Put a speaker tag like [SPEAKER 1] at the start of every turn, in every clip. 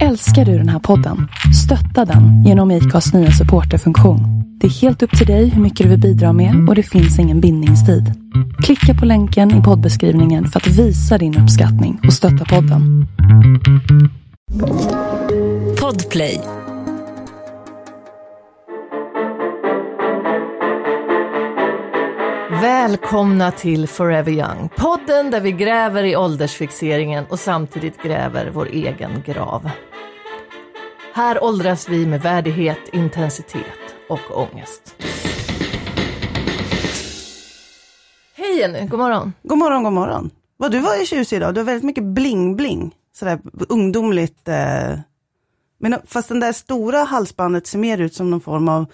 [SPEAKER 1] Älskar du den här podden? Stötta den genom IKAs nya supporterfunktion. Det är helt upp till dig hur mycket du vill bidra med och det finns ingen bindningstid. Klicka på länken i poddbeskrivningen för att visa din uppskattning och stötta podden.
[SPEAKER 2] Podplay.
[SPEAKER 3] Välkomna till Forever Young, podden där vi gräver i åldersfixeringen och samtidigt gräver vår egen grav. Här åldras vi med värdighet, intensitet och ångest. Hej Jenny, god morgon.
[SPEAKER 4] God morgon, god morgon. Vad du var ju tjusig idag. Du har väldigt mycket bling-bling. Sådär ungdomligt. Eh. Men, fast den där stora halsbandet ser mer ut som någon form av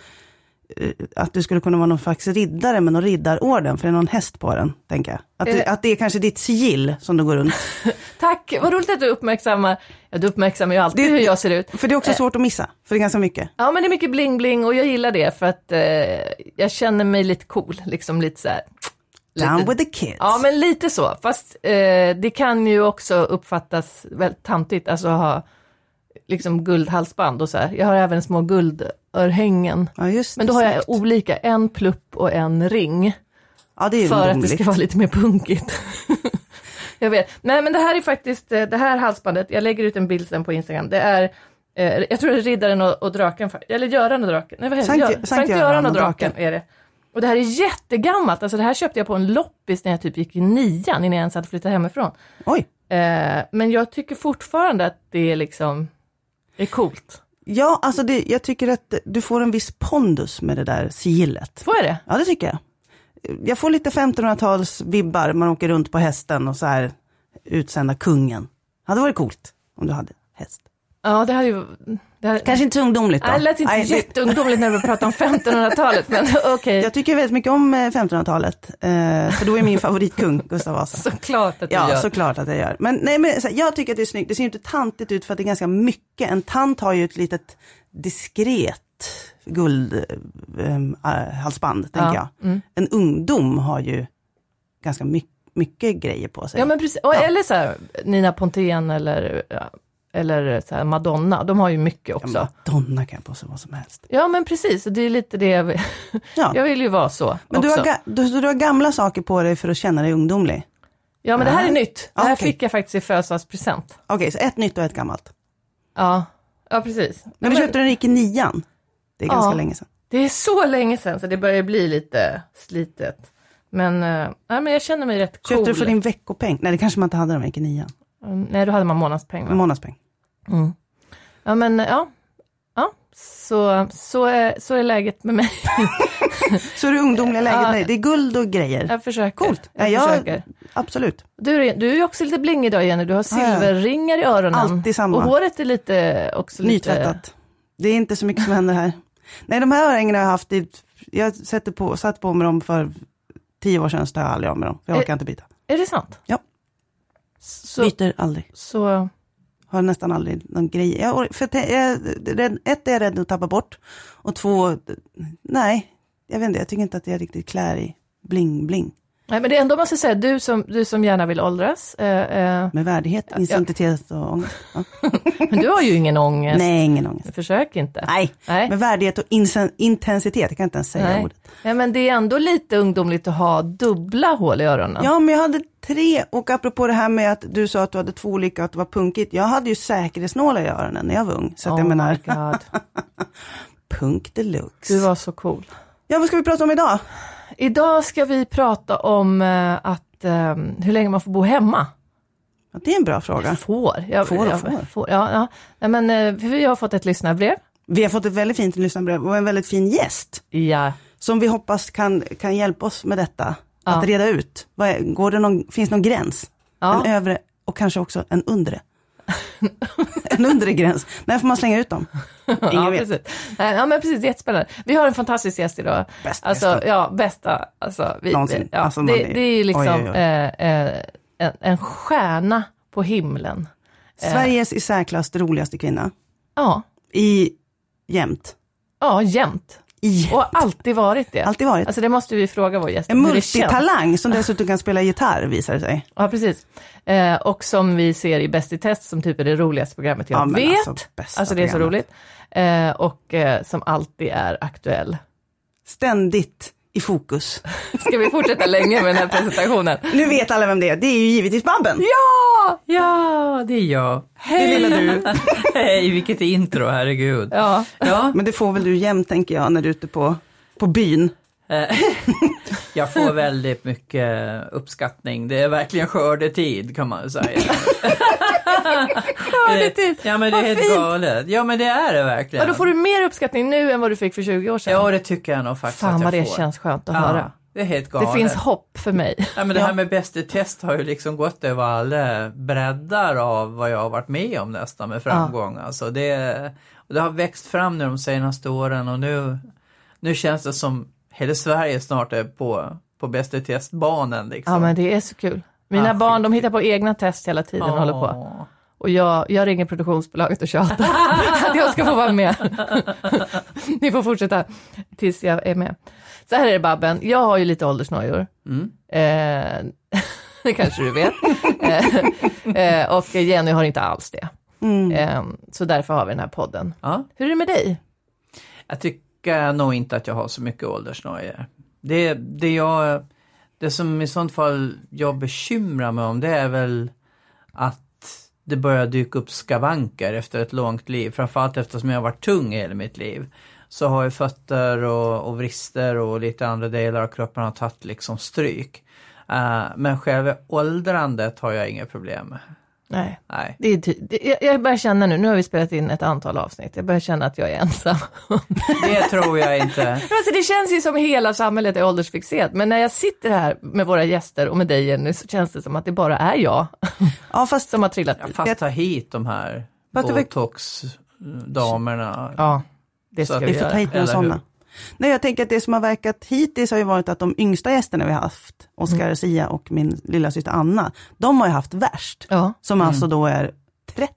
[SPEAKER 4] eh, att du skulle kunna vara någon slags riddare med någon riddarorden, för det är någon häst på den, tänker jag. Att, det-
[SPEAKER 3] Eh.
[SPEAKER 4] att det är kanske ditt sigill som du går runt.
[SPEAKER 3] Tack, vad roligt att du uppmärksammar. Ja, du uppmärksammar ju alltid
[SPEAKER 4] Det-
[SPEAKER 3] hur jag ser ut.
[SPEAKER 4] För det är också svårt att missa, för det är ganska mycket.
[SPEAKER 3] Ja, men det är mycket bling-bling och jag gillar det för att eh, jag känner mig lite cool, liksom lite så här.
[SPEAKER 4] Down
[SPEAKER 3] lite-
[SPEAKER 4] with the kids.
[SPEAKER 3] Ja, men lite så. Fast eh, det kan ju också uppfattas väldigt tantigt, alltså ha liksom guldhalsband och så här. Jag har även små guldörhängen.
[SPEAKER 4] Ja, just
[SPEAKER 3] Men
[SPEAKER 4] det,
[SPEAKER 3] då har jag
[SPEAKER 4] snyggt.
[SPEAKER 3] olika, en plupp och en ring.
[SPEAKER 4] Ja, det är ju
[SPEAKER 3] För att det
[SPEAKER 4] ungdomligt.
[SPEAKER 3] ska vara lite mer punkigt. jag vet. Nej men det här är faktiskt, eh, det här halsbandet, jag lägger ut en bild sen på Instagram. Det är, eh, jag tror det är riddaren och, och draken, fa- eller Göran och draken. Nej vad heter det? Gör-
[SPEAKER 4] Sankt- Sankt
[SPEAKER 3] Sankt Göran och draken
[SPEAKER 4] draken.
[SPEAKER 3] är det. Och det här är jättegammalt, alltså det här köpte jag på en loppis när jag typ gick i nian, innan jag ens hade flyttat hemifrån.
[SPEAKER 4] Oj.
[SPEAKER 3] Eh, men jag tycker fortfarande att det är liksom, är coolt.
[SPEAKER 4] Ja, alltså det, jag tycker att du får en viss pondus med det där sigillet.
[SPEAKER 3] Får jag det?
[SPEAKER 4] Ja, det tycker jag. Jag får lite 1500-tals vibbar, man åker runt på hästen och så här utsända kungen. Hade varit coolt om du hade häst.
[SPEAKER 3] Ja, det här är ju... Det här,
[SPEAKER 4] Kanske inte ungdomligt då?
[SPEAKER 3] Nej, det lät inte
[SPEAKER 4] Nej, det-
[SPEAKER 3] jätteungdomligt när vi pratade om 1500-talet, men okej.
[SPEAKER 4] Jag tycker väldigt mycket om eh, 1500-talet, eh, för då är min favoritkung Gustav Vasa.
[SPEAKER 3] Såklart att du
[SPEAKER 4] Ja,
[SPEAKER 3] gör.
[SPEAKER 4] såklart att jag gör. Men, nej, men så här, jag tycker att det är snyggt, det ser ju inte tantigt ut för att det är ganska mycket. En tant har ju ett litet diskret guldhalsband, tänker
[SPEAKER 3] Ja, Mm.
[SPEAKER 4] jag. En ungdom har ju ganska my- mycket grejer på sig.
[SPEAKER 3] Ja, men precis. Och, Eller så här, Nina Pontén eller, ja, eller så här Madonna, de har ju mycket
[SPEAKER 4] Ja,
[SPEAKER 3] också.
[SPEAKER 4] Madonna kan på sig vad som helst.
[SPEAKER 3] Ja, men precis. Det är lite det jag vill.
[SPEAKER 4] Ja.
[SPEAKER 3] Jag vill ju vara så
[SPEAKER 4] Men du
[SPEAKER 3] också.
[SPEAKER 4] har, ga- du, så du har gamla saker på dig för att känna dig ungdomlig.
[SPEAKER 3] Ja, men det här är nytt. Det här
[SPEAKER 4] Okej.
[SPEAKER 3] fick jag faktiskt i födelsedagspresent.
[SPEAKER 4] Okej, så ett nytt och ett gammalt.
[SPEAKER 3] Ja. ja, precis.
[SPEAKER 4] Men
[SPEAKER 3] Men
[SPEAKER 4] du köpte den rik i nian. Det är ganska
[SPEAKER 3] Ja.
[SPEAKER 4] länge sedan.
[SPEAKER 3] Det är så länge sedan så det börjar bli lite slitet. Men, eh, nej, men jag känner mig rätt cool.
[SPEAKER 4] Köpte du för din veckopeng? Nej, det kanske man inte hade när man gick i nian.
[SPEAKER 3] Mm, Nej, då hade man månadspeng. Va? Mm.
[SPEAKER 4] Månadspeng.
[SPEAKER 3] Ja, men eh, ja. ja. Så, så, är, så är läget med mig.
[SPEAKER 4] Så är det ungdomliga läget
[SPEAKER 3] Ja.
[SPEAKER 4] Nej, Det är guld och grejer.
[SPEAKER 3] Jag försöker.
[SPEAKER 4] Coolt.
[SPEAKER 3] Jag
[SPEAKER 4] Ja, jag-
[SPEAKER 3] försöker.
[SPEAKER 4] Absolut.
[SPEAKER 3] Du, du är ju också lite bling idag Jenny, du har
[SPEAKER 4] Ja, ja.
[SPEAKER 3] silverringar i öronen.
[SPEAKER 4] Alltid samma.
[SPEAKER 3] Och håret är lite också lite...
[SPEAKER 4] Nytvättat. Det är inte så mycket som händer här. Nej, de här örhängena har jag haft i... Jag sätter på, satt på mig dem för tio år sedan, så tar jag aldrig av mig dem. För jag
[SPEAKER 3] Eh,
[SPEAKER 4] orkar inte byta.
[SPEAKER 3] Är det sant?
[SPEAKER 4] Ja.
[SPEAKER 3] Så,
[SPEAKER 4] Byter aldrig.
[SPEAKER 3] så
[SPEAKER 4] Har nästan aldrig någon grej. Jag, or- för te- jag, är rädd- ett är jag rädd att tappa bort. Och två, nej, jag vet inte, jag tycker inte att jag riktigt klär i bling-bling.
[SPEAKER 3] nej men det är ändå måste jag säga, du som, du som gärna vill åldras, eh, eh,
[SPEAKER 4] Med värdighet, identitet och ångest. Ja.
[SPEAKER 3] men du har ju ingen ångest.
[SPEAKER 4] Nej, ingen ångest.
[SPEAKER 3] Försök inte.
[SPEAKER 4] Nej,
[SPEAKER 3] Nej.
[SPEAKER 4] med värdighet och insen- intensitet, jag kan inte ens säga
[SPEAKER 3] Nej.
[SPEAKER 4] ordet.
[SPEAKER 3] Nej, men det är ändå lite ungdomligt att ha dubbla hål i öronen.
[SPEAKER 4] Ja, men jag hade tre, och apropå det här med att du sa att du hade två olika och att det var punkigt. Jag hade ju säkerhetsnålar i öronen när jag var ung, så att
[SPEAKER 3] oh
[SPEAKER 4] jag menar,
[SPEAKER 3] my god,
[SPEAKER 4] punk deluxe.
[SPEAKER 3] du var så cool.
[SPEAKER 4] Ja, vad ska vi prata om idag?
[SPEAKER 3] Idag ska vi prata om eh, att, eh, hur länge man får bo hemma.
[SPEAKER 4] Ja, det är en bra fråga.
[SPEAKER 3] Får. Jag,
[SPEAKER 4] Får och
[SPEAKER 3] jag,
[SPEAKER 4] får.
[SPEAKER 3] ja, ja. Nej, men, eh, vi har fått ett lyssnarbrev.
[SPEAKER 4] Vi har fått ett väldigt fint lyssnarbrev och en väldigt fin gäst.
[SPEAKER 3] Ja.
[SPEAKER 4] som vi hoppas kan, kan hjälpa oss med detta.
[SPEAKER 3] Ja.
[SPEAKER 4] Att reda ut, vad är, går det någon, finns någon gräns?
[SPEAKER 3] Ja.
[SPEAKER 4] En övre och kanske också en undre. en undre gräns. När får man slänga ut dem? Ingen
[SPEAKER 3] Ja,
[SPEAKER 4] vet.
[SPEAKER 3] precis. Nej, ja, men precis. Det är jättespännande. Vi har en fantastisk gäst idag.
[SPEAKER 4] Bästa
[SPEAKER 3] alltså,
[SPEAKER 4] gästen.
[SPEAKER 3] ja, bästa. Alltså, vi,
[SPEAKER 4] Någonsin.
[SPEAKER 3] Ja,
[SPEAKER 4] Alltså, man
[SPEAKER 3] det,
[SPEAKER 4] är-
[SPEAKER 3] det är ju liksom
[SPEAKER 4] oj, oj, oj.
[SPEAKER 3] Eh, eh, en, en stjärna på himlen. eh.
[SPEAKER 4] Sveriges i särklass roligaste kvinna.
[SPEAKER 3] Ja,
[SPEAKER 4] I jämt.
[SPEAKER 3] ja jämt.
[SPEAKER 4] i.
[SPEAKER 3] Och alltid varit det.
[SPEAKER 4] Alltid varit.
[SPEAKER 3] Alltså det måste vi fråga vår gäst.
[SPEAKER 4] En
[SPEAKER 3] hur det känns.
[SPEAKER 4] multitalang som dessutom kan spela gitarr visar det sig.
[SPEAKER 3] Ja, precis. Eh, och som vi ser i Bäst i test, som typ är det roligaste programmet jag
[SPEAKER 4] Ja, men
[SPEAKER 3] vet.
[SPEAKER 4] alltså,
[SPEAKER 3] Alltså,
[SPEAKER 4] bästa
[SPEAKER 3] det är så
[SPEAKER 4] programmet.
[SPEAKER 3] roligt. Eh, och eh, som alltid är aktuell.
[SPEAKER 4] Ständigt i fokus.
[SPEAKER 3] Ska vi fortsätta länge med den här presentationen?
[SPEAKER 4] Nu vet alla vem det är, det är ju givetvis Babben.
[SPEAKER 3] Ja!
[SPEAKER 2] Ja, det är jag.
[SPEAKER 4] Det lilla du.
[SPEAKER 2] Hej, vilket intro, herregud.
[SPEAKER 3] Ja,
[SPEAKER 2] Ja,
[SPEAKER 4] Men det får väl du jämt tänker jag när du är ute på, på byn.
[SPEAKER 2] eh, jag får väldigt mycket uppskattning. Det är verkligen skördetid kan man säga.
[SPEAKER 3] skördetid.
[SPEAKER 2] Ja men det är
[SPEAKER 3] Vad
[SPEAKER 2] helt
[SPEAKER 3] fint.
[SPEAKER 2] galet. Ja men det är det verkligen.
[SPEAKER 3] Ja, då får du mer uppskattning nu än vad du fick för 20 år sedan.
[SPEAKER 2] Ja det tycker jag nog faktiskt
[SPEAKER 3] Fan
[SPEAKER 2] att jag
[SPEAKER 3] vad det
[SPEAKER 2] får.
[SPEAKER 3] känns skönt att
[SPEAKER 2] Ja,
[SPEAKER 3] höra.
[SPEAKER 2] det är helt
[SPEAKER 3] Det
[SPEAKER 2] galet.
[SPEAKER 3] finns hopp för mig.
[SPEAKER 2] Ja, men det här med Bäst i test har ju liksom gått över alla breddar av vad jag har varit med om nästan med framgång. Alltså det, och det har växt fram nu de senaste åren och nu, nu känns det som hela Sverige snart är på, på Bäst i test-banan. Liksom.
[SPEAKER 3] Ja, men det är så kul. Mina
[SPEAKER 2] Ah,
[SPEAKER 3] barn de hittar på egna test hela tiden och håller på.
[SPEAKER 2] Åh.
[SPEAKER 3] Och jag, jag ringer produktionsbolaget och tjatar att jag ska få vara med. Ni får fortsätta tills jag är med. Så här är det Babben, jag har ju lite åldersnojor.
[SPEAKER 2] Mm.
[SPEAKER 3] Eh, det kanske du vet. Eh, eh, och Jenny har inte alls det.
[SPEAKER 4] Mm.
[SPEAKER 3] Eh, så därför har vi den här podden.
[SPEAKER 2] Ja,
[SPEAKER 3] Hur är det med dig?
[SPEAKER 2] jag tycker nog inte att jag har så mycket åldersnojor. Det, det, jag, det som i sånt fall jag bekymrar mig om det är väl att det börjar dyka upp skavanker efter ett långt liv. Framförallt eftersom jag har varit tung i hela mitt liv. Så har ju fötter och, och vrister och lite andra delar av kroppen har tagit liksom stryk. Eh, men själva åldrandet har jag inga problem med.
[SPEAKER 3] Nej.
[SPEAKER 2] Nej.
[SPEAKER 3] Det är ty- det, jag- jag börjar känna nu, nu har vi spelat in ett antal avsnitt, jag börjar känna att jag är ensam.
[SPEAKER 2] Det tror jag inte.
[SPEAKER 3] Men Alltså det känns ju som hela samhället är åldersfixerat, men när jag sitter här med våra gäster och med dig Jenny så känns det som att det bara är jag
[SPEAKER 4] Ja, fast
[SPEAKER 3] som har trillat
[SPEAKER 2] Ja,
[SPEAKER 3] dit.
[SPEAKER 2] fast ta hit de här
[SPEAKER 4] Fast det var-
[SPEAKER 2] botox-damerna.
[SPEAKER 3] Ja, det
[SPEAKER 2] Så
[SPEAKER 3] ska
[SPEAKER 2] att
[SPEAKER 3] vi
[SPEAKER 4] vi får ta
[SPEAKER 3] göra.
[SPEAKER 4] hit några
[SPEAKER 2] eller hur?
[SPEAKER 4] sådana. Nej, jag tänker att det som har verkat hittills har ju varit att de yngsta gästerna vi har haft, Oskar
[SPEAKER 3] Mm.
[SPEAKER 4] Sia och min lilla syster Anna, de har ju haft värst.
[SPEAKER 3] Ja.
[SPEAKER 4] Som alltså då är 30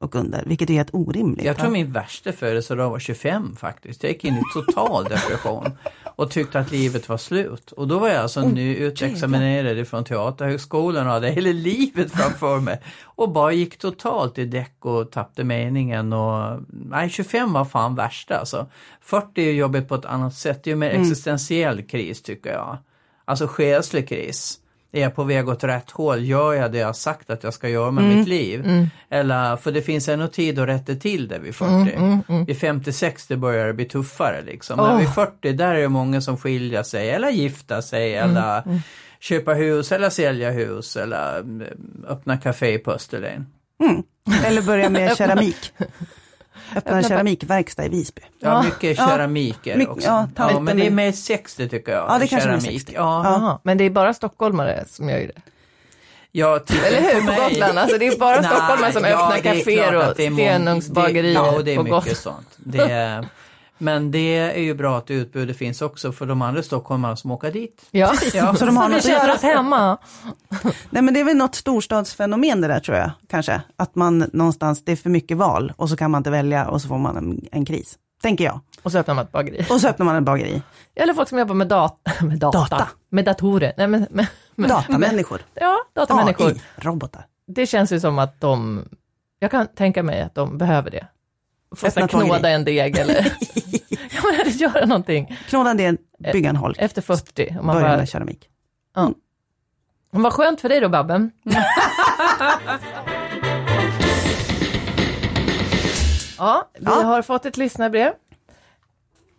[SPEAKER 4] och under, vilket är helt orimligt.
[SPEAKER 2] Jag tror min värsta födelsedag var 25 faktiskt. Jag gick in i total depression och tyckte att livet var slut. Och då var jag alltså ny utexaminerad från Teaterhögskolan och hade hela livet framför mig. Och bara gick totalt i däck och tappade meningen. Och, nej, 25 var fan värsta alltså. 40 är jobbigt på ett annat sätt. Det är ju
[SPEAKER 4] Mm.
[SPEAKER 2] mer existentiell kris tycker jag. Alltså själslig kris. Är jag på väg åt rätt håll? Gör jag det jag har sagt att jag ska göra med
[SPEAKER 4] Mm.
[SPEAKER 2] mitt liv? Eller, för det finns ännu tid att rätta till det vid 40.
[SPEAKER 4] Mm,
[SPEAKER 2] Vid 50-60 börjar det bli tuffare liksom. Men vid 40 där är det många som skiljer sig eller gifta sig
[SPEAKER 4] Mm,
[SPEAKER 2] eller köpa hus eller sälja hus eller mm, öppna café på Österlen.
[SPEAKER 4] Eller börja med keramik. Öppna en keramikverkstad i Visby. Alltså,
[SPEAKER 2] Ja,
[SPEAKER 3] Ja.
[SPEAKER 2] mycket
[SPEAKER 4] Ja.
[SPEAKER 2] keramiker
[SPEAKER 4] Mycket-
[SPEAKER 2] också.
[SPEAKER 4] ja,
[SPEAKER 2] Ja,
[SPEAKER 4] ta lite
[SPEAKER 2] men det är
[SPEAKER 4] mer.
[SPEAKER 2] mer 60 tycker jag.
[SPEAKER 4] Ja, det kanske är mer
[SPEAKER 2] keramik.
[SPEAKER 4] 60.
[SPEAKER 2] Ja,
[SPEAKER 4] Ja.
[SPEAKER 3] Jaha, men det är bara stockholmare som gör ju det.
[SPEAKER 2] Jag tittar
[SPEAKER 3] Eller hur? På
[SPEAKER 2] mig.
[SPEAKER 3] Gotland, alltså det är bara
[SPEAKER 2] Nej,
[SPEAKER 3] stockholmare som
[SPEAKER 2] ja,
[SPEAKER 3] öppnar
[SPEAKER 2] det är
[SPEAKER 3] kaféer
[SPEAKER 2] klart att
[SPEAKER 3] och
[SPEAKER 2] det är många-
[SPEAKER 3] stenugnsbagerier
[SPEAKER 2] det- Ja, det är
[SPEAKER 3] på
[SPEAKER 2] mycket
[SPEAKER 3] Gotland.
[SPEAKER 2] sånt. Det är, men det är ju bra att utbudet finns också för de andra stockholmarna som åker dit.
[SPEAKER 3] Ja,
[SPEAKER 2] Ja,
[SPEAKER 4] Så de har något
[SPEAKER 3] vi
[SPEAKER 4] att göra.
[SPEAKER 3] känner oss hemma.
[SPEAKER 4] Nej men det är väl något storstadsfenomen det där tror jag, kanske. Att man någonstans, det är för mycket val och så kan man inte välja och så får man en, en kris. Tänker jag.
[SPEAKER 3] Och så öppnar man ett bageri.
[SPEAKER 4] Och så öppnar man ett bageri.
[SPEAKER 3] Eller folk som jobbar med, dat med data.
[SPEAKER 4] Data.
[SPEAKER 3] Med datorer. Nej, men, men, men,
[SPEAKER 4] Datamänniskor.
[SPEAKER 3] ja, datamänniskor.
[SPEAKER 4] AI, robotar.
[SPEAKER 3] Det känns ju som att de, jag kan tänka mig att de behöver det. Få
[SPEAKER 4] Öppna
[SPEAKER 3] sig
[SPEAKER 4] ett bageri.
[SPEAKER 3] knåda en deg eller ja, men, eller göra någonting.
[SPEAKER 4] Knåda en del, bygga en holk.
[SPEAKER 3] Efter 40. Om Eh, man
[SPEAKER 4] Börja
[SPEAKER 3] bara,
[SPEAKER 4] med keramik.
[SPEAKER 3] men vad skönt för dig då Babben. ja, vi
[SPEAKER 4] Ja.
[SPEAKER 3] har fått ett lyssnarbrev.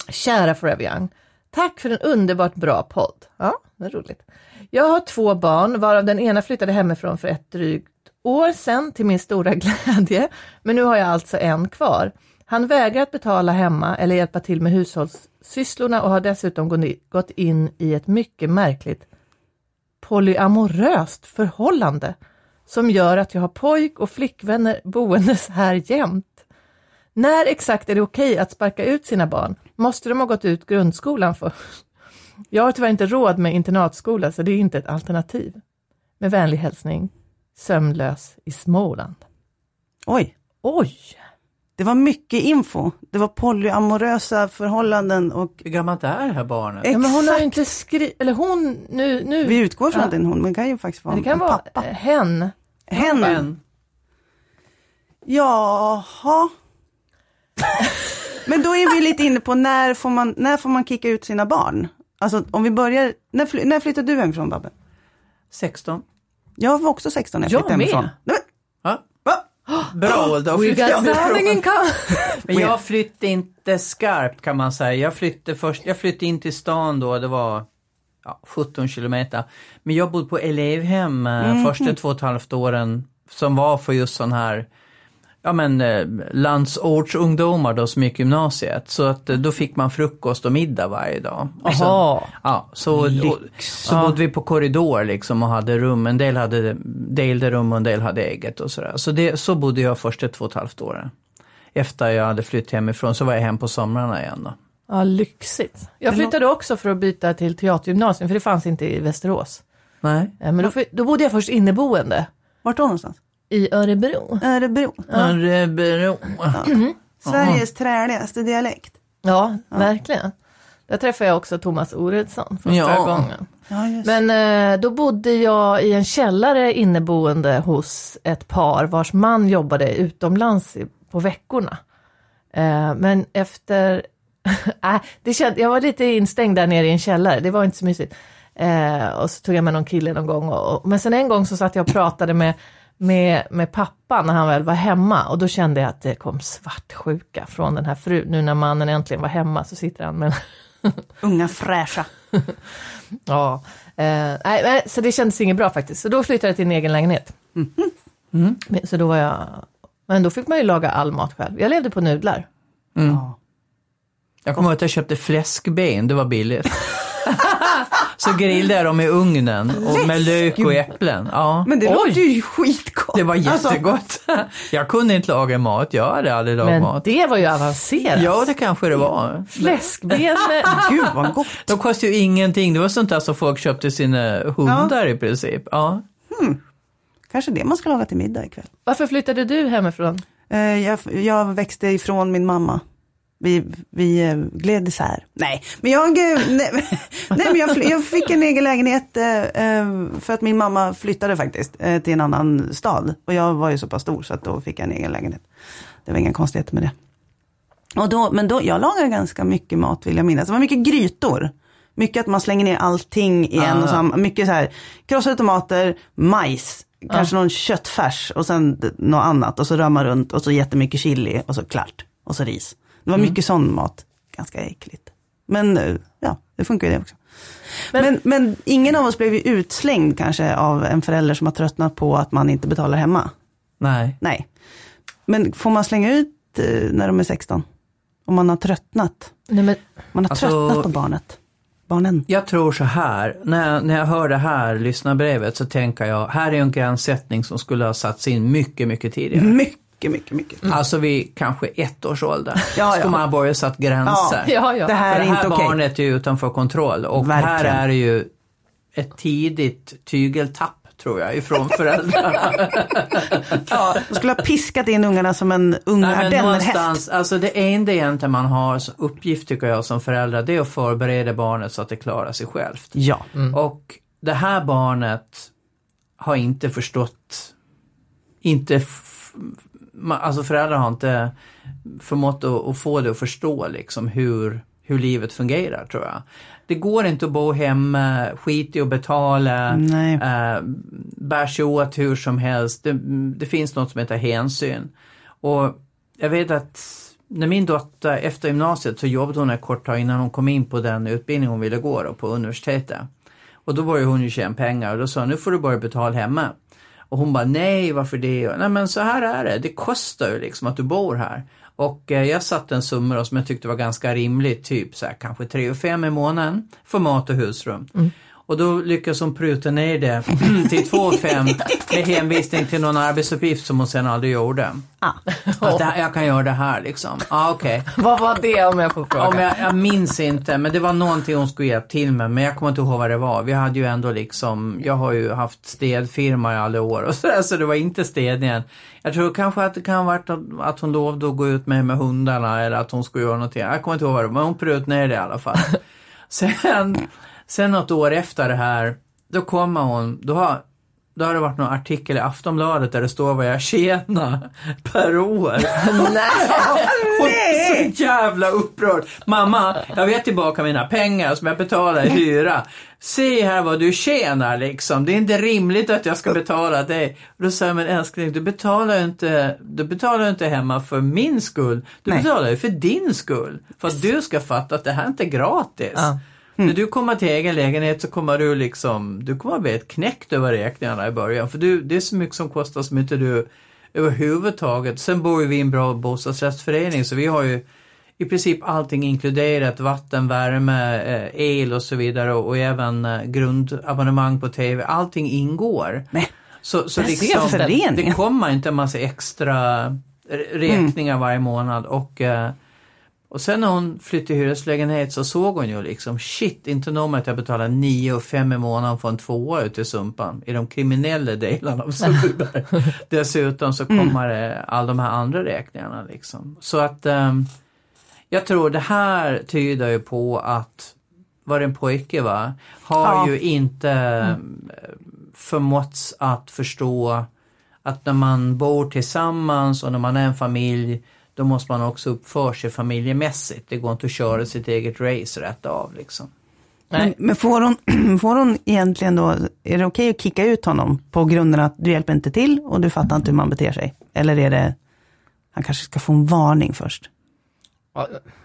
[SPEAKER 3] Kära Forever Young. Tack för en underbart bra podd. Ja, det är roligt. Jag har två barn varav den ena flyttade hemifrån för ett drygt år sedan till min stora glädje. Men nu har jag alltså en kvar. Han vägrar att betala hemma eller hjälpa till med hushållssysslorna och har dessutom gå- gått in i ett mycket märkligt polyamoröst förhållande som gör att jag har pojk och flickvänner boendes här jämt. När exakt är det okej att sparka ut sina barn? Måste de ha gått ut grundskolan för? Jag har tyvärr inte råd med internatskola så det är inte ett alternativ. Med vänlig hälsning, sömnlös i Småland.
[SPEAKER 4] Oj,
[SPEAKER 3] Oj!
[SPEAKER 4] Det var mycket info. Det var polyamorösa förhållanden och
[SPEAKER 2] Hur gammalt är det här barnet?
[SPEAKER 4] Ex-
[SPEAKER 3] Ja, men hon har
[SPEAKER 4] Exakt.
[SPEAKER 3] ju inte skrivit, eller hon, nu, nu,
[SPEAKER 4] vi utgår från
[SPEAKER 3] Ja.
[SPEAKER 4] att det är en hon, men det kan ju faktiskt vara
[SPEAKER 3] men det
[SPEAKER 4] en,
[SPEAKER 3] kan
[SPEAKER 4] en
[SPEAKER 3] vara
[SPEAKER 4] pappa.
[SPEAKER 3] eh, hen. Mm.
[SPEAKER 4] Hen.
[SPEAKER 2] Men,
[SPEAKER 4] Jaha. Men då är vi lite inne på när får man, när får man kicka ut sina barn? Alltså om vi börjar, när, fly, när flyttade du hemifrån Babben?
[SPEAKER 2] 16.
[SPEAKER 4] Jag var också 16 när jag
[SPEAKER 2] Jag
[SPEAKER 4] flyttade
[SPEAKER 2] med.
[SPEAKER 4] hemifrån. Nej, men-
[SPEAKER 2] Ja. Va? Bra ålder att
[SPEAKER 3] We
[SPEAKER 2] flytta
[SPEAKER 3] got something
[SPEAKER 2] hemifrån.
[SPEAKER 3] in common.
[SPEAKER 2] Men jag flyttade inte skarpt kan man säga. Jag flyttade, först, jag flyttade in till stan då, det var ja, 17 kilometer. Men jag bodde på elevhem eh, första två och ett halvt åren som var för just sån här ja, men, eh, landsortsungdomar då som gick gymnasiet. Så att, eh, då fick man frukost och middag varje dag. Och sen-
[SPEAKER 3] Jaha.
[SPEAKER 2] Ja, så, och, så bodde vi på korridor liksom och hade rum. En del hade delade rum och en del hade eget och sådär. Så, det, så bodde jag första två och ett halvt åren. Efter jag hade flytt hemifrån så var jag hem på somrarna igen då.
[SPEAKER 3] Ja, lyxigt. Jag flyttade också för att byta till teatergymnasium, för det fanns inte i Västerås.
[SPEAKER 2] Nej,
[SPEAKER 3] Eh, Men då, fi- då bodde jag först inneboende
[SPEAKER 4] Vart då någonstans?
[SPEAKER 3] i Örebro.
[SPEAKER 4] Örebro.
[SPEAKER 2] Örebro.
[SPEAKER 4] Sveriges träligaste dialekt.
[SPEAKER 3] Ja, verkligen. Där träffade jag också Thomas Oredsson första
[SPEAKER 2] Ja.
[SPEAKER 3] gången.
[SPEAKER 4] Ja, just.
[SPEAKER 3] Men eh, då bodde jag i en källare inneboende hos ett par vars man jobbade utomlands i- på veckorna. Eh, men efter... Äh, det känd, jag var lite instängd där nere i en källare, det var inte så mysigt. Eh, och så tog jag med någon kille någon gång. Och, och, men sen en gång så satt jag och pratade med, med, med pappa när han väl var hemma och då kände jag att det kom svartsjuka från den här frun. Nu när mannen äntligen var hemma så sitter han med en
[SPEAKER 4] Unga fräscha.
[SPEAKER 3] Ja, eh, nej, nej, så det kändes inget bra faktiskt. Så då flyttade jag till en egen lägenhet. Mm-hmm. Men- Så då var jag, men då fick man ju laga all mat själv. Jag levde på nudlar.
[SPEAKER 4] Ja.
[SPEAKER 2] Jag kommer ihåg att jag köpte fläskben, det var billigt. så grillade jag dem i ugnen och med lök och äpplen. Ja.
[SPEAKER 4] Men det
[SPEAKER 3] Oj.
[SPEAKER 4] låter ju skitgott.
[SPEAKER 2] Det var
[SPEAKER 4] Alltså,
[SPEAKER 2] jättegott. Jag kunde inte laga mat, jag hade aldrig lagat
[SPEAKER 3] Men
[SPEAKER 2] mat.
[SPEAKER 3] det var ju avancerat.
[SPEAKER 2] Ja, det kanske det var.
[SPEAKER 3] Fläskben.
[SPEAKER 4] Gud vad gott.
[SPEAKER 2] De kostade ju ingenting. Det var sånt där som folk köpte sina hundar i princip. Ja.
[SPEAKER 4] Kanske det man ska laga till middag ikväll.
[SPEAKER 3] Varför flyttade du hemifrån?
[SPEAKER 4] Eh, Jag, jag växte ifrån min mamma. Vi, vi eh, gled isär. Nej, men jag, eh, nej, nej, men jag, fly- jag fick en egen lägenhet eh, eh, för att min mamma flyttade faktiskt eh, till en annan stad. Och jag var ju så pass stor så att då fick jag en egen lägenhet. Det var inga konstigheter med det. Och då, men då, jag lagade ganska mycket mat vill jag minnas. Det var mycket grytor. Mycket att man slänger ner allting i en och samma. Mycket så här, krossade tomater, majs, kanske någon köttfärs och sen d- något annat. Och så rör man runt och så jättemycket chili och så klart. Och så ris. Det var mycket sån mat. Ganska äckligt. Men eh, ja, det funkar ju det också. Men, men, ingen av oss blev ju utslängd kanske av en förälder som har tröttnat på att man inte betalar hemma.
[SPEAKER 2] Nej.
[SPEAKER 4] Nej. Men får man slänga ut eh, när de är 16? Om man har tröttnat?
[SPEAKER 3] Nej, men,
[SPEAKER 4] Man har
[SPEAKER 2] Alltså-
[SPEAKER 4] tröttnat på barnet. Barnen.
[SPEAKER 2] Jag tror så här, när jag, när jag hör det här lyssnarbrevet så tänker jag, här är en gränssättning som skulle ha satts in mycket, mycket tidigare.
[SPEAKER 4] Mycket, mycket, mycket.
[SPEAKER 2] Alltså vid kanske ett års ålder.
[SPEAKER 4] Mm. Ja, ja.
[SPEAKER 2] Skulle man ha börjat satt gränser.
[SPEAKER 3] ja, ja.
[SPEAKER 4] Det här
[SPEAKER 2] För
[SPEAKER 4] är
[SPEAKER 2] det här
[SPEAKER 4] inte okej.
[SPEAKER 2] barnet är ju utanför kontroll och här
[SPEAKER 4] Verkligen.
[SPEAKER 2] är det ju ett tidigt tygeltapp tror jag ifrån föräldrarna.
[SPEAKER 4] Ja, de skulle ha piskat in ungarna som en ung
[SPEAKER 2] Nej, men
[SPEAKER 4] ardennerhäst.
[SPEAKER 2] någonstans, alltså det enda egentligen man har som uppgift tycker jag som förälder, det är att förbereda barnet så att det klarar sig självt.
[SPEAKER 4] Ja.
[SPEAKER 2] Och det här barnet har inte förstått, inte, f- ma- alltså föräldrar har inte förmått att, att få det att förstå liksom hur, hur livet fungerar tror jag. Det går inte att bo hemma, skit i att betala,
[SPEAKER 4] Nej.
[SPEAKER 2] eh, bär sig åt hur som helst. Det, det finns något som heter hänsyn. Och jag vet att när min dotter efter gymnasiet så jobbade hon ett kort tag innan hon kom in på den utbildning hon ville gå då, på universitetet. Och då började hon ju tjäna pengar och då sa jag, nu får du börja betala hemma. Och hon bara, nej varför det? Och, nej men så här är det, det kostar ju liksom att du bor här. Och eh, jag satte en summa då som jag tyckte var ganska rimlig, typ så här, kanske 3 och 5 i månaden för mat och husrum. Och då lyckas hon pruta ner det till 2,5 med hänvisning till någon arbetsuppgift som hon sen aldrig gjorde.
[SPEAKER 4] Ah.
[SPEAKER 2] Att det här, jag kan göra det här liksom. Ah, okay.
[SPEAKER 3] Vad var det om jag får fråga?
[SPEAKER 2] Om jag, jag minns inte, men det var någonting hon skulle hjälpa till med, men jag kommer inte ihåg vad det var. Vi hade ju ändå liksom, jag har ju haft städfirma i alla år och sådär, så det var inte städningen. Jag tror kanske att det kan ha varit att, att hon lovade att gå ut med, med hundarna eller att hon skulle göra någonting. Jag kommer inte ihåg vad det var, men hon pröt ner det i alla fall. Sen, sen något år efter det här, då kommer hon, då har då har det varit någon artikel i Aftonbladet där det står vad jag tjänar per år. Hon är så jävla upprörd. Mamma, jag vill ha tillbaka mina pengar som jag betalar i hyra. Se här vad du tjänar liksom. Det är inte rimligt att jag ska betala dig. Och då sa jag, men älskling, du betalar ju inte, du betalar ju inte hemma för min skull. Du betalar ju för din skull. För att du ska fatta att det här är inte är gratis.
[SPEAKER 3] Ja.
[SPEAKER 2] När du kommer till egen lägenhet så kommer du liksom, du kommer att bli ett knäckt över räkningarna i början. För du, det är så mycket som kostar som inte du överhuvudtaget. Sen bor ju vi i en bra bostadsrättsförening så vi har ju i princip allting inkluderat. Vatten, värme, eh, el och så vidare och, och även eh, grundabonnemang på TV. Allting ingår.
[SPEAKER 4] Men,
[SPEAKER 2] Så, så
[SPEAKER 4] Men
[SPEAKER 2] liksom,
[SPEAKER 4] se föreningen.
[SPEAKER 2] det kommer inte en massa extra r- räkningar varje månad. Och, eh, och sen när hon flyttade till hyreslägenhet så såg hon ju liksom, shit, inte nog med att jag betalar 9 och 5 i månaden för en tvåa ute i Sumpan, i de kriminella delarna av Sundbyberg. Dessutom så kommer det alla de här andra räkningarna liksom. Så att ehm, jag tror det här tyder ju på att, var det en pojke va, har
[SPEAKER 4] Ja.
[SPEAKER 2] ju inte
[SPEAKER 3] Mm.
[SPEAKER 2] eh, förmåtts att förstå att när man bor tillsammans och när man är en familj då måste man också uppföra sig familjemässigt. Det går inte att köra sitt eget race rätt av liksom.
[SPEAKER 4] men,
[SPEAKER 3] Nej.
[SPEAKER 4] men får, hon, får hon egentligen då, är det okej att kicka ut honom på grunden att du hjälper inte till och du fattar inte hur man beter sig? Eller är det, han kanske ska få en varning först?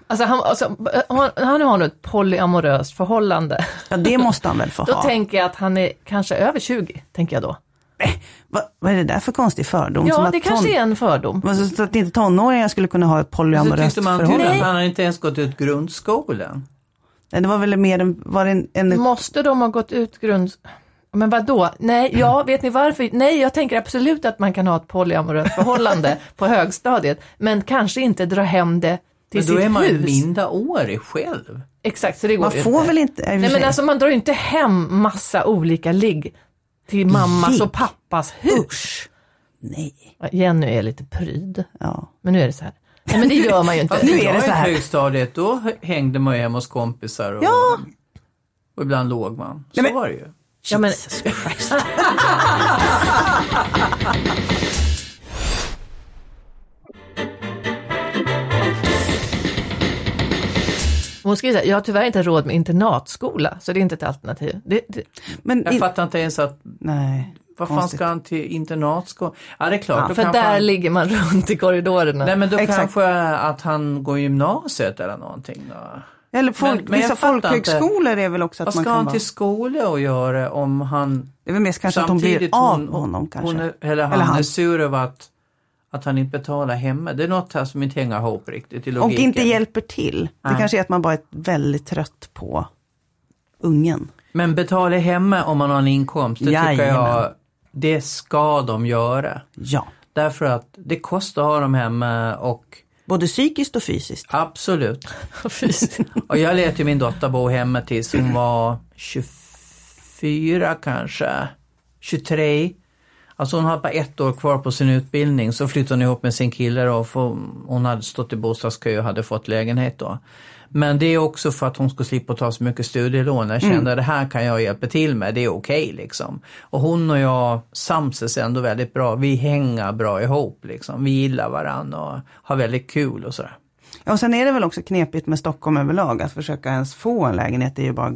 [SPEAKER 3] Alltså, han, alltså, han, han har nog ett polyamoröst förhållande.
[SPEAKER 4] Ja, det måste han väl få
[SPEAKER 3] Då
[SPEAKER 4] ha?
[SPEAKER 3] tänker jag att han är kanske över 20, tänker jag då.
[SPEAKER 4] Va, vad är det där för konstig fördom?
[SPEAKER 3] Ja,
[SPEAKER 4] att
[SPEAKER 3] det kanske är en fördom.
[SPEAKER 4] Men Alltså, så- Så att inte tonåringar skulle kunna ha ett
[SPEAKER 2] Så
[SPEAKER 4] polyamoröst
[SPEAKER 2] tyckte man
[SPEAKER 4] förhållande?
[SPEAKER 2] tydligen
[SPEAKER 4] Nej.
[SPEAKER 2] att han hade inte ens gått ut grundskolan.
[SPEAKER 4] Det var väl mer en, var det en,
[SPEAKER 2] Mm.
[SPEAKER 4] en
[SPEAKER 3] Måste de ha gått ut grund... Men vad då? Nej, ja,
[SPEAKER 4] Mm.
[SPEAKER 3] vet ni varför? Nej, jag tänker absolut att man kan ha ett polyamoröst förhållande på högstadiet, men kanske inte dra hem det till
[SPEAKER 2] Men
[SPEAKER 3] sitt
[SPEAKER 2] då är man ju
[SPEAKER 3] hus.
[SPEAKER 2] minderårig själv.
[SPEAKER 3] Exakt, så det går
[SPEAKER 4] man
[SPEAKER 3] ju
[SPEAKER 4] får
[SPEAKER 3] inte.
[SPEAKER 4] väl inte? i och för
[SPEAKER 3] Nej, men
[SPEAKER 4] sig.
[SPEAKER 3] alltså man drar ju inte hem massa olika ligg till mammas
[SPEAKER 4] Ligg?
[SPEAKER 3] och pappas hus.
[SPEAKER 4] Nej.
[SPEAKER 3] Ja, Jenny är lite pryd,
[SPEAKER 4] Ja.
[SPEAKER 3] men nu är det så här. Nej, men det gör man ju inte.
[SPEAKER 4] Nu är
[SPEAKER 2] Jag
[SPEAKER 4] det
[SPEAKER 2] i
[SPEAKER 4] så här.
[SPEAKER 2] högstadiet, då hängde man ju hemma hos kompisar och,
[SPEAKER 4] Ja.
[SPEAKER 2] och ibland låg man. Så
[SPEAKER 4] Nej, men-
[SPEAKER 2] var det ju.
[SPEAKER 3] Ja, men, hon skriver så här, jag har tyvärr inte råd med internatskola, så det är inte ett alternativ. Det, det,
[SPEAKER 4] Men
[SPEAKER 2] Jag
[SPEAKER 4] i,
[SPEAKER 2] fattar inte ens att,
[SPEAKER 4] nej.
[SPEAKER 2] vad fan
[SPEAKER 4] Konstigt.
[SPEAKER 2] ska han till internatskola? Ja det är klart,
[SPEAKER 3] ja,
[SPEAKER 2] då
[SPEAKER 3] för
[SPEAKER 2] kanske
[SPEAKER 3] där
[SPEAKER 2] han,
[SPEAKER 3] ligger man runt i korridorerna.
[SPEAKER 2] Nej men då
[SPEAKER 4] Exakt.
[SPEAKER 2] kanske att han går gymnasiet eller någonting då.
[SPEAKER 4] Eller folk,
[SPEAKER 2] Men- men jag
[SPEAKER 4] vissa
[SPEAKER 2] fattar inte.
[SPEAKER 4] folkhögskolor är väl också att
[SPEAKER 2] Vad
[SPEAKER 4] man
[SPEAKER 2] ska
[SPEAKER 4] kan
[SPEAKER 2] han
[SPEAKER 4] vara...
[SPEAKER 2] till skola och göra om han
[SPEAKER 4] Det är väl mest kanske att de blir
[SPEAKER 2] samtidigt
[SPEAKER 4] av
[SPEAKER 2] hon,
[SPEAKER 4] med honom kanske.
[SPEAKER 2] hon är, eller, han
[SPEAKER 4] Eller han.
[SPEAKER 2] är sur över att, att han inte betalar hemma? Det är något här som inte hänger ihop riktigt i
[SPEAKER 4] och
[SPEAKER 2] logiken.
[SPEAKER 4] inte hjälper till. Det
[SPEAKER 2] Nej.
[SPEAKER 4] kanske är att man bara är väldigt trött på ungen.
[SPEAKER 2] Men betala hemma om man har en inkomst, det tycker jag,
[SPEAKER 4] Jajamän.
[SPEAKER 2] det ska de göra.
[SPEAKER 4] Ja,
[SPEAKER 2] Därför att det kostar att ha dem hemma och
[SPEAKER 4] både psykiskt och fysiskt.
[SPEAKER 2] absolut.
[SPEAKER 3] Fysiskt.
[SPEAKER 2] Och jag lät ju min dotter bo hemma tills hon var 24 kanske, 23. Alltså hon har bara ett år kvar på sin utbildning så flyttade hon ihop med sin kille då, för hon hade stått i bostadskö och hade fått lägenhet då. Men det är också för att hon skulle slippa ta så mycket studielån. Jag kände det här kan jag hjälpa till med, det är okej liksom. Och hon och jag samses ändå väldigt bra, vi hänger bra ihop liksom. Vi gillar varandra och har väldigt kul och sådär.
[SPEAKER 4] Ja, och sen är det väl också knepigt med Stockholm överlag, att försöka ens få en lägenhet är ju bara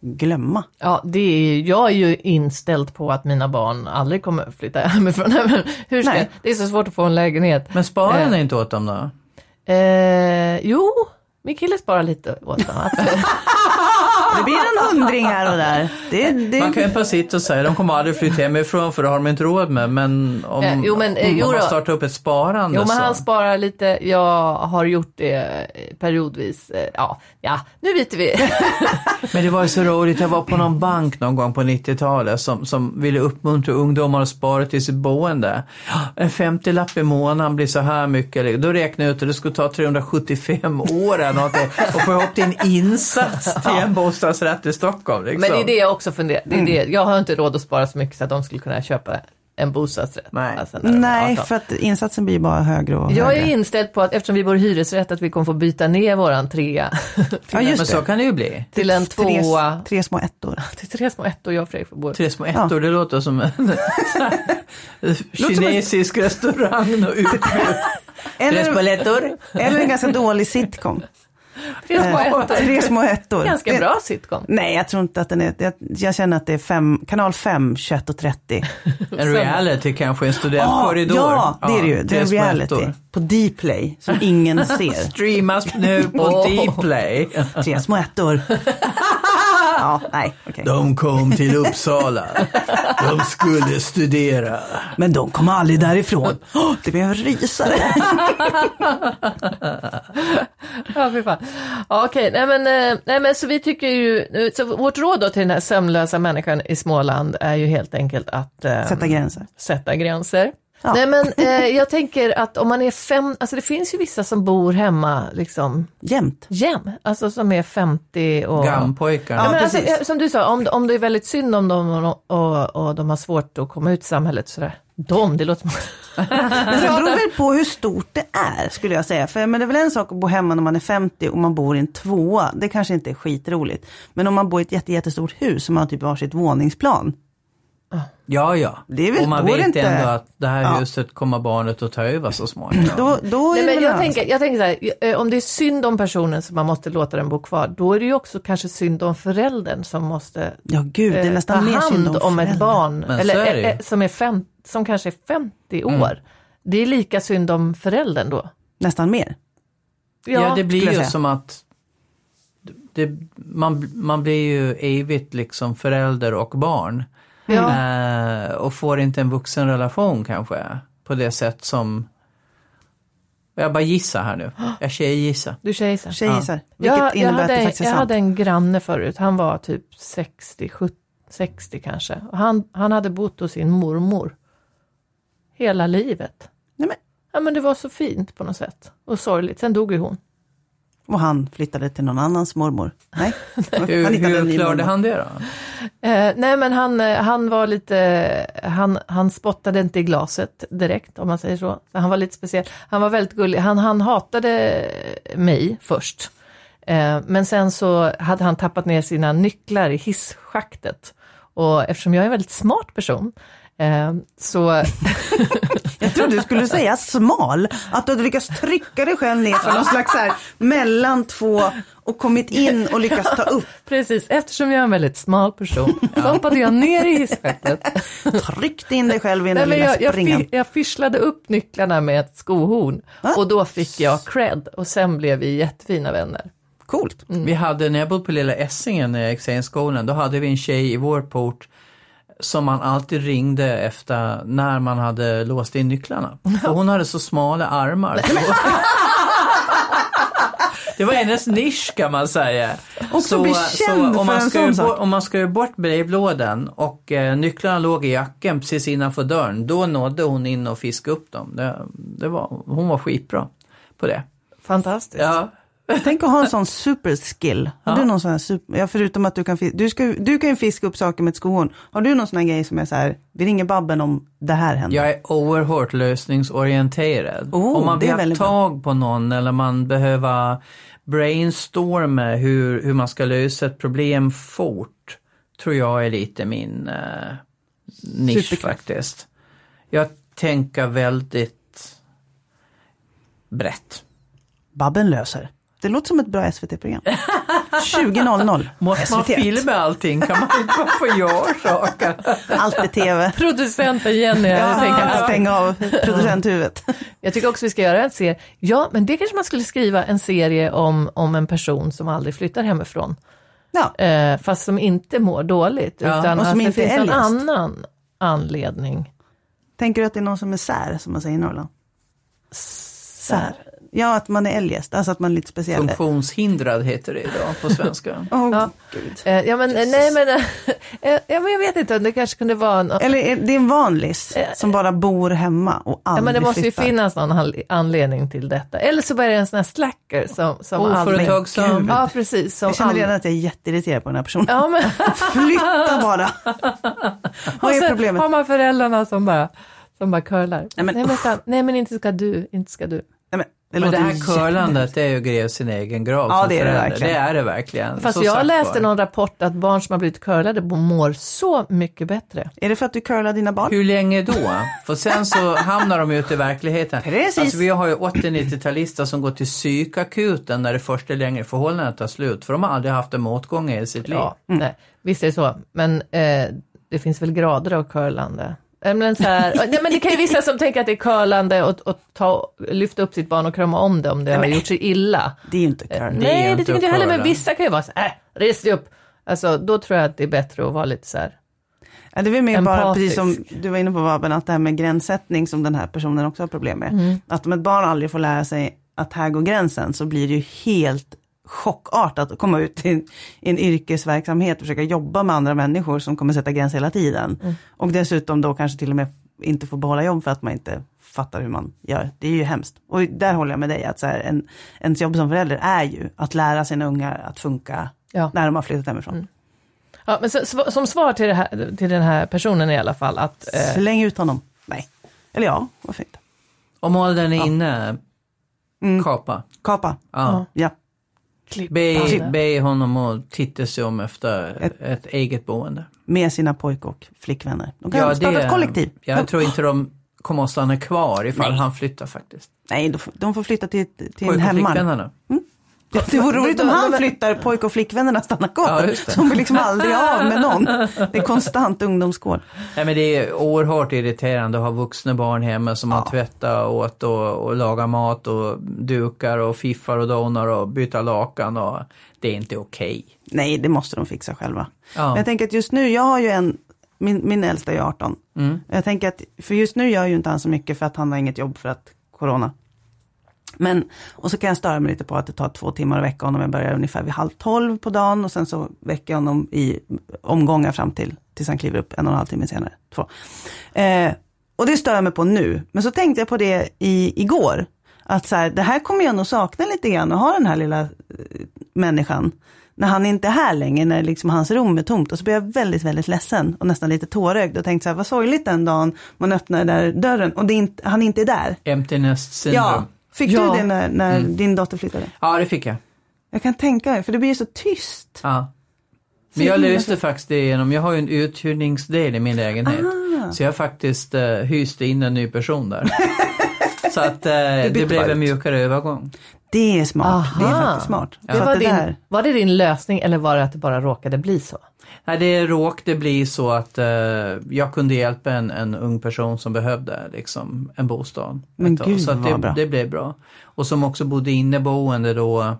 [SPEAKER 4] glömma.
[SPEAKER 3] Ja, det är ju, jag är ju inställd på att mina barn aldrig kommer att flytta hemifrån. Nej, men Hur ska,
[SPEAKER 4] Nej.
[SPEAKER 3] det är så svårt att få en lägenhet.
[SPEAKER 2] Men sparar
[SPEAKER 3] Eh.
[SPEAKER 2] ni inte åt dem då?
[SPEAKER 3] Eh, jo, min kille sparar lite åt honom. Att,
[SPEAKER 4] Det blir en hundring här och där. Det, det,
[SPEAKER 2] Man kan
[SPEAKER 3] Mm.
[SPEAKER 2] ju bara sitta och säga, de kommer aldrig flytta hemifrån för det har de inte råd med. Men om,
[SPEAKER 3] Eh, jo, men, eh,
[SPEAKER 2] om
[SPEAKER 3] jo
[SPEAKER 2] man
[SPEAKER 3] då.
[SPEAKER 2] startar upp ett sparande
[SPEAKER 3] Jo, men
[SPEAKER 2] så.
[SPEAKER 3] han sparar lite. Jag har gjort det eh, periodvis. Eh, Ja, ja nu byter vi.
[SPEAKER 2] Men det var ju så roligt, jag var på någon bank någon gång på 90-talet som, som ville uppmuntra ungdomar att spara till sitt boende. En 50-lapp i månaden blir så här mycket, eller- då räknade jag ut att det skulle ta 375 år eller någonting och få ihop till en insats till en bostadsrätt i Stockholm. Liksom.
[SPEAKER 3] Men det är det jag också funderar. Det är det. Jag har inte råd att spara så mycket så att de skulle kunna köpa en bostadsrätt.
[SPEAKER 2] Nej.
[SPEAKER 3] Alltså, när de är
[SPEAKER 4] nej,
[SPEAKER 3] 18.
[SPEAKER 4] för att insatsen blir bara högre och
[SPEAKER 3] Jag är
[SPEAKER 4] högre.
[SPEAKER 3] inställd på att eftersom vi bor i hyresrätt att vi kommer få byta ner våran trea
[SPEAKER 4] Ja,
[SPEAKER 2] Men
[SPEAKER 4] just
[SPEAKER 2] så
[SPEAKER 4] det.
[SPEAKER 2] kan det ju bli.
[SPEAKER 3] till en
[SPEAKER 4] Tre,
[SPEAKER 3] tvåa.
[SPEAKER 4] tre små ettor.
[SPEAKER 3] Till tre små ettor jag och Fredrik får bo i.
[SPEAKER 2] Tre små ettor, det låter som en kinesisk restaurang och utbud. Tre små
[SPEAKER 4] Eller,
[SPEAKER 2] ettor.
[SPEAKER 4] eller en ganska dålig sitcom.
[SPEAKER 3] Tre små
[SPEAKER 4] Eh,
[SPEAKER 3] ettor.
[SPEAKER 4] Tre små ettor.
[SPEAKER 3] Ganska
[SPEAKER 4] Det-
[SPEAKER 3] bra sitcom.
[SPEAKER 4] Nej, jag tror inte att den är... Jag, jag känner att det är fem, kanal 5, 21 och 30.
[SPEAKER 2] En reality kanske, en studentkorridor.
[SPEAKER 4] ja, det är det ju. Det är en
[SPEAKER 2] små
[SPEAKER 4] reality
[SPEAKER 2] ettor.
[SPEAKER 4] på Dplay som ingen ser.
[SPEAKER 2] Streamas nu på Dplay.
[SPEAKER 4] Tre små ettor. ja, nej, okej.
[SPEAKER 2] De kom till Uppsala. De skulle studera.
[SPEAKER 4] Men de kommer aldrig därifrån. Åh, det blev en rysare.
[SPEAKER 3] Ja, fy fan. Ja, okej, nej men, eh, nej men så vi tycker ju, så vårt råd då till den här sömnlösa människan i Småland är ju helt enkelt att eh,
[SPEAKER 4] Sätta gränser.
[SPEAKER 3] sätta gränser.
[SPEAKER 4] Ja.
[SPEAKER 3] Nej men eh, jag tänker att om man är fem, alltså det finns ju vissa som bor hemma liksom
[SPEAKER 4] Jämt.
[SPEAKER 3] jäm, alltså som är 50 och...
[SPEAKER 2] Gampojkarna.
[SPEAKER 3] Ja, men alltså,
[SPEAKER 4] precis.
[SPEAKER 3] eh, som du sa, om, om det är väldigt synd om dem och, och, och de har svårt att komma ut i samhället sådär. De, det låter som...
[SPEAKER 4] Men det beror väl på hur stort det är skulle jag säga. För men det är väl en sak att bo hemma när man är 50 och man bor i en tvåa. Det kanske inte är skitroligt. Men om man bor i ett jätte, jättestort hus som har typ varsitt våningsplan.
[SPEAKER 2] Ja, ja.
[SPEAKER 4] Det är väl-
[SPEAKER 2] och man
[SPEAKER 4] går det
[SPEAKER 2] vet
[SPEAKER 4] inte-
[SPEAKER 2] ändå att det här
[SPEAKER 4] Ja.
[SPEAKER 2] huset kommer barnet att ta över så småningom.
[SPEAKER 4] Då, då är
[SPEAKER 3] Nej,
[SPEAKER 4] det
[SPEAKER 3] men
[SPEAKER 4] väl
[SPEAKER 3] jag,
[SPEAKER 4] en-
[SPEAKER 3] tänker, jag tänker så här, eh, om det är synd om personen som man måste låta den bo kvar, då är det ju också kanske synd om föräldern som måste
[SPEAKER 4] Ja gud, det är
[SPEAKER 3] eh,
[SPEAKER 4] nästan
[SPEAKER 3] ta
[SPEAKER 4] mer synd
[SPEAKER 3] hand om ett
[SPEAKER 4] föräldrar.
[SPEAKER 3] barn
[SPEAKER 2] Men så
[SPEAKER 3] eller,
[SPEAKER 2] är det ju. Mm.
[SPEAKER 3] eh, eh, som, är fem, som kanske är 50 år. Det är lika synd om föräldern då.
[SPEAKER 4] Nästan mer.
[SPEAKER 2] Ja, det
[SPEAKER 4] skulle
[SPEAKER 2] blir
[SPEAKER 4] jag
[SPEAKER 2] ju
[SPEAKER 4] säga.
[SPEAKER 2] som att det, man, man blir ju evigt liksom förälder och barn.
[SPEAKER 3] Ja.
[SPEAKER 2] Eh, och får inte en vuxenrelation kanske på det sätt som... Jag bara gissar här nu. Jag tjejgissar.
[SPEAKER 3] Du tjejsar.
[SPEAKER 4] Tjejgissar. Vilket
[SPEAKER 3] Jag, jag,
[SPEAKER 4] innebär att
[SPEAKER 3] hade,
[SPEAKER 4] det
[SPEAKER 3] en-
[SPEAKER 4] faktiskt är
[SPEAKER 3] jag
[SPEAKER 4] sant.
[SPEAKER 3] hade en granne förut, han var typ 60, 70, 60 kanske. Och han, han hade bott hos sin mormor hela livet.
[SPEAKER 4] Nej, men,
[SPEAKER 3] Ja, men det var så fint på något sätt och sorgligt. Sen dog ju hon.
[SPEAKER 4] och han flyttade till någon annans mormor. Nej, han
[SPEAKER 2] Hur,
[SPEAKER 4] hittade en
[SPEAKER 2] hur
[SPEAKER 4] ny
[SPEAKER 2] klarade
[SPEAKER 4] mormor.
[SPEAKER 2] han det då?
[SPEAKER 3] Eh, nej, men han, eh, han var lite, han, han spottade inte i glaset direkt om man säger så. så. Han var lite speciell. Han var väldigt gullig. Han, han hatade mig först. Eh, men sen så hade han tappat ner sina nycklar i hisschaktet. Och eftersom jag är en väldigt smart person eh, så
[SPEAKER 4] Jag trodde du skulle säga smal, att du hade lyckats trycka dig själv ner för någon slags så här, mellan två och kommit in och lyckats ta upp.
[SPEAKER 3] precis, eftersom jag är en väldigt smal person så hoppade jag ner i hisschaktet.
[SPEAKER 4] Tryckte in dig själv i den
[SPEAKER 3] Nej,
[SPEAKER 4] där
[SPEAKER 3] men
[SPEAKER 4] lilla
[SPEAKER 3] jag, jag,
[SPEAKER 4] springan.
[SPEAKER 3] fi- jag fischlade upp nycklarna med ett skohorn och då fick jag cred och sen blev vi jättefina vänner.
[SPEAKER 4] Coolt.
[SPEAKER 2] Vi hade, när jag bodde på Lilla Essingen i Eksängsskolan, då hade vi en tjej i vår port som man alltid ringde efter när man hade låst in nycklarna. För hon hade så smala armar. Det var hennes nisch kan man säga.
[SPEAKER 4] Också bli känd
[SPEAKER 2] om,
[SPEAKER 4] för
[SPEAKER 2] man
[SPEAKER 4] en
[SPEAKER 2] ska ju
[SPEAKER 4] sån sak.
[SPEAKER 2] bort, om man skrev bort brevlådan och eh, nycklarna låg i jackan precis innanför dörren, då nådde hon in och fiskade upp dem. Det, det var, hon var skitbra på det.
[SPEAKER 3] Fantastiskt.
[SPEAKER 2] Ja.
[SPEAKER 4] Tänk att ha en sån superskill. Har du någon sån här super, ja, förutom att du kan, fis- du, ska, du kan ju fiska upp saker med ett skohorn. Har du någon sån här grej som är så här, vi ringer Babben om det här händer.
[SPEAKER 2] Jag är oerhört lösningsorienterad.
[SPEAKER 4] Oh,
[SPEAKER 2] Om man
[SPEAKER 4] det är
[SPEAKER 2] vill ha
[SPEAKER 4] väldigt bra.
[SPEAKER 2] tag på någon eller man behöver brainstorma hur, hur man ska lösa ett problem fort, tror jag är lite min eh, nisch
[SPEAKER 4] Superkraft.
[SPEAKER 2] faktiskt. Jag tänker väldigt brett.
[SPEAKER 4] Babben löser. Det låter som ett bra SVT-program. 20.00.
[SPEAKER 2] Måste man
[SPEAKER 4] SVT.
[SPEAKER 2] Alltså, filma allting? Kan man inte bara få göra saker?
[SPEAKER 4] Allt i tv.
[SPEAKER 3] Producenten Jenny, jag,
[SPEAKER 4] Jag kan inte
[SPEAKER 3] tänker,
[SPEAKER 4] stänga av producenthuvudet.
[SPEAKER 3] jag tycker också vi ska göra en serie. Ja, men det kanske man skulle skriva en serie om, om en person som aldrig flyttar hemifrån.
[SPEAKER 4] Ja.
[SPEAKER 3] eh, fast som inte mår dåligt,
[SPEAKER 2] Ja,
[SPEAKER 3] utan
[SPEAKER 4] och som
[SPEAKER 3] att det
[SPEAKER 4] inte är
[SPEAKER 3] finns någon
[SPEAKER 4] eljest.
[SPEAKER 3] annan anledning.
[SPEAKER 4] Tänker du att det är någon som är sär, som man säger i Norrland? Sär. Ja, att man är eljest, alltså att man är lite speciell.
[SPEAKER 2] Funktionshindrad heter det idag på svenska.
[SPEAKER 4] Åh,
[SPEAKER 3] Ja.
[SPEAKER 4] gud.
[SPEAKER 3] Eh, ja, men, eh, nej, men, eh, ja, men jag vet inte, det kanske kunde vara en,
[SPEAKER 4] Eller är det är en vanlis som bara bor hemma och
[SPEAKER 3] Eh, Ja,
[SPEAKER 4] aldrig
[SPEAKER 3] men det måste ju
[SPEAKER 4] flyttar.
[SPEAKER 3] finnas någon anle- anledning till detta. Eller så börjar det en sån här slacker som, som aldrig...
[SPEAKER 2] Oföretag som...
[SPEAKER 3] Ja, precis. Som
[SPEAKER 4] Jag känner
[SPEAKER 3] aldrig-
[SPEAKER 4] redan att jag är jätteirriterad på den här personen.
[SPEAKER 3] Ja, men,
[SPEAKER 4] Flytta bara! Vad
[SPEAKER 3] och
[SPEAKER 4] är
[SPEAKER 3] sen
[SPEAKER 4] problemet?
[SPEAKER 3] har man föräldrarna som bara, som bara curlar.
[SPEAKER 4] Nej,
[SPEAKER 3] Nej,
[SPEAKER 4] men-
[SPEAKER 3] men, nej, men, inte ska du, inte ska du.
[SPEAKER 4] Nej, men, det
[SPEAKER 2] Men
[SPEAKER 4] låter
[SPEAKER 2] det här
[SPEAKER 4] jätte-
[SPEAKER 2] curlandet det är ju grev sin egen grav
[SPEAKER 4] Ja,
[SPEAKER 2] som
[SPEAKER 4] det är det
[SPEAKER 2] förälder.
[SPEAKER 4] verkligen.
[SPEAKER 2] Det är det verkligen.
[SPEAKER 3] Fast
[SPEAKER 2] Så
[SPEAKER 3] jag
[SPEAKER 2] sagt
[SPEAKER 3] läste
[SPEAKER 2] var.
[SPEAKER 3] någon rapport att barn som har blivit curlade mår så mycket bättre.
[SPEAKER 4] Är det för att du curlar dina barn?
[SPEAKER 2] Hur länge då? För sen så hamnar de ju ute i verkligheten.
[SPEAKER 4] Precis.
[SPEAKER 2] Alltså, vi har ju 80-90-talister som går till psykakuten när det första längre förhållandet tar slut. För de har aldrig haft en motgång i sitt liv.
[SPEAKER 3] Ja, nej, visst är det så. Men eh, det finns väl grader av curlande. Eh, Men, så här, nej, men det kan ju vissa som tänker att det är curlande och, och ta, lyfta upp sitt barn och krama om det om det har
[SPEAKER 4] men-
[SPEAKER 3] gjort sig illa.
[SPEAKER 4] Det är ju inte curling.
[SPEAKER 2] är
[SPEAKER 3] Nej,
[SPEAKER 2] inte
[SPEAKER 3] det tycker inte jag heller, men
[SPEAKER 2] uppförande.
[SPEAKER 3] vissa kan ju vara så här, äh, res dig upp. Alltså, då tror jag att det är bättre att vara lite så här.
[SPEAKER 4] Ja, det är väl mer bara, precis
[SPEAKER 3] Empatisk.
[SPEAKER 4] som du var inne på Babben, att det här med gränssättning som den här personen också har problem med. Att om ett barn aldrig får lära sig att här går gränsen så blir det ju helt chockartat att komma ut i en, i en yrkesverksamhet och försöka jobba med andra människor som kommer sätta gränser hela tiden.
[SPEAKER 3] Mm.
[SPEAKER 4] Och dessutom då kanske till och med inte få behålla jobb för att man inte fattar hur man gör. Det är ju hemskt. Och där håller jag med dig, att så här, en, ens jobb som förälder är ju att lära sina ungar att funka
[SPEAKER 3] Ja. Mm.
[SPEAKER 4] när de har flyttat hemifrån.
[SPEAKER 3] Ja, men så, sv- som svar till, det här, till den här personen i alla fall, att eh,
[SPEAKER 4] Släng ut honom. Nej. Eller ja, varför inte.
[SPEAKER 2] Om åldern är inne, kapa.
[SPEAKER 4] Kapa.
[SPEAKER 2] Ja.
[SPEAKER 4] Mm. Ja.
[SPEAKER 2] Be, be honom att titta sig om efter
[SPEAKER 4] Ett-
[SPEAKER 2] ett, eget boende.
[SPEAKER 4] Med sina pojk och flickvänner. De kan starta ett kollektiv.
[SPEAKER 2] Jag
[SPEAKER 4] Ja.
[SPEAKER 2] tror inte de kommer att stanna kvar ifall han flyttar faktiskt.
[SPEAKER 4] Nej, de får, de får flytta till, till
[SPEAKER 2] Pojk
[SPEAKER 4] en
[SPEAKER 2] och
[SPEAKER 4] hemman.
[SPEAKER 2] flickvännerna.
[SPEAKER 4] Ja, Det vore roligt om
[SPEAKER 3] Men-
[SPEAKER 4] han
[SPEAKER 3] men-
[SPEAKER 4] flyttar, pojk och flickvännerna stannar
[SPEAKER 2] Ja,
[SPEAKER 4] kvar.
[SPEAKER 2] just det.
[SPEAKER 4] så de blir liksom aldrig av med någon. Det är konstant ungdomsgård.
[SPEAKER 2] Nej, men det är oerhört irriterande att ha vuxna barn hemma som man
[SPEAKER 4] Ja.
[SPEAKER 2] tvättar åt och, och lagar mat och dukar och fiffar och donar och byter lakan. Och, det är inte okej.
[SPEAKER 4] Nej, det måste de fixa själva.
[SPEAKER 2] Ja.
[SPEAKER 4] Men jag tänker att just nu, jag har ju en, min, min äldsta är 18. Jag tänker att, för just nu gör ju inte han så mycket för att han har inget jobb för att corona. Men, och så kan jag störa mig lite på att det tar två timmar att väcka honom. Jag börjar ungefär vid halv tolv på dagen och sen så väcker jag honom i omgångar fram till, tills han kliver upp en och en halv timme senare. Två. Eh, och det stör jag mig på nu. Men så tänkte jag på det i, igår. Att så här, det här kommer jag nog sakna lite grann och ha den här lilla eh, människan. När han inte är här längre, när liksom hans rum är tomt. Och så blev jag väldigt, väldigt ledsen och nästan lite tårögd och tänkte så här, vad sorgligt den dagen man öppnar där dörren och det är inte, han inte är där.
[SPEAKER 2] Empty nest syndrome.
[SPEAKER 4] Ja,
[SPEAKER 2] Ja.
[SPEAKER 4] fick
[SPEAKER 3] Ja.
[SPEAKER 4] du det när, när
[SPEAKER 2] Mm.
[SPEAKER 4] din dotter flyttade?
[SPEAKER 2] ja, det fick jag.
[SPEAKER 4] Jag kan tänka mig, för det blir ju så tyst.
[SPEAKER 2] Ja. Men jag löste faktiskt det genom, jag har ju en uthyrningsdel i min lägenhet.
[SPEAKER 4] Ah.
[SPEAKER 2] Så jag har faktiskt uh, hyst in en ny person där. Så att eh,
[SPEAKER 4] bytte
[SPEAKER 2] det
[SPEAKER 4] bara
[SPEAKER 2] blev
[SPEAKER 4] ut.
[SPEAKER 2] en mjukare övergång.
[SPEAKER 4] Det är smart, det är
[SPEAKER 3] Aha.
[SPEAKER 4] faktiskt smart.
[SPEAKER 3] det
[SPEAKER 4] För
[SPEAKER 3] var,
[SPEAKER 4] att det
[SPEAKER 3] din,
[SPEAKER 4] där,
[SPEAKER 3] var det din lösning eller var det att det bara råkade bli så?
[SPEAKER 2] Nej, det råkade bli så att eh, jag kunde hjälpa en, en ung person som behövde liksom, en bostad.
[SPEAKER 4] Men
[SPEAKER 2] Ett tag.
[SPEAKER 4] gud,
[SPEAKER 2] så att det,
[SPEAKER 4] vad bra.
[SPEAKER 2] det blev bra. Och som också bodde inneboende då.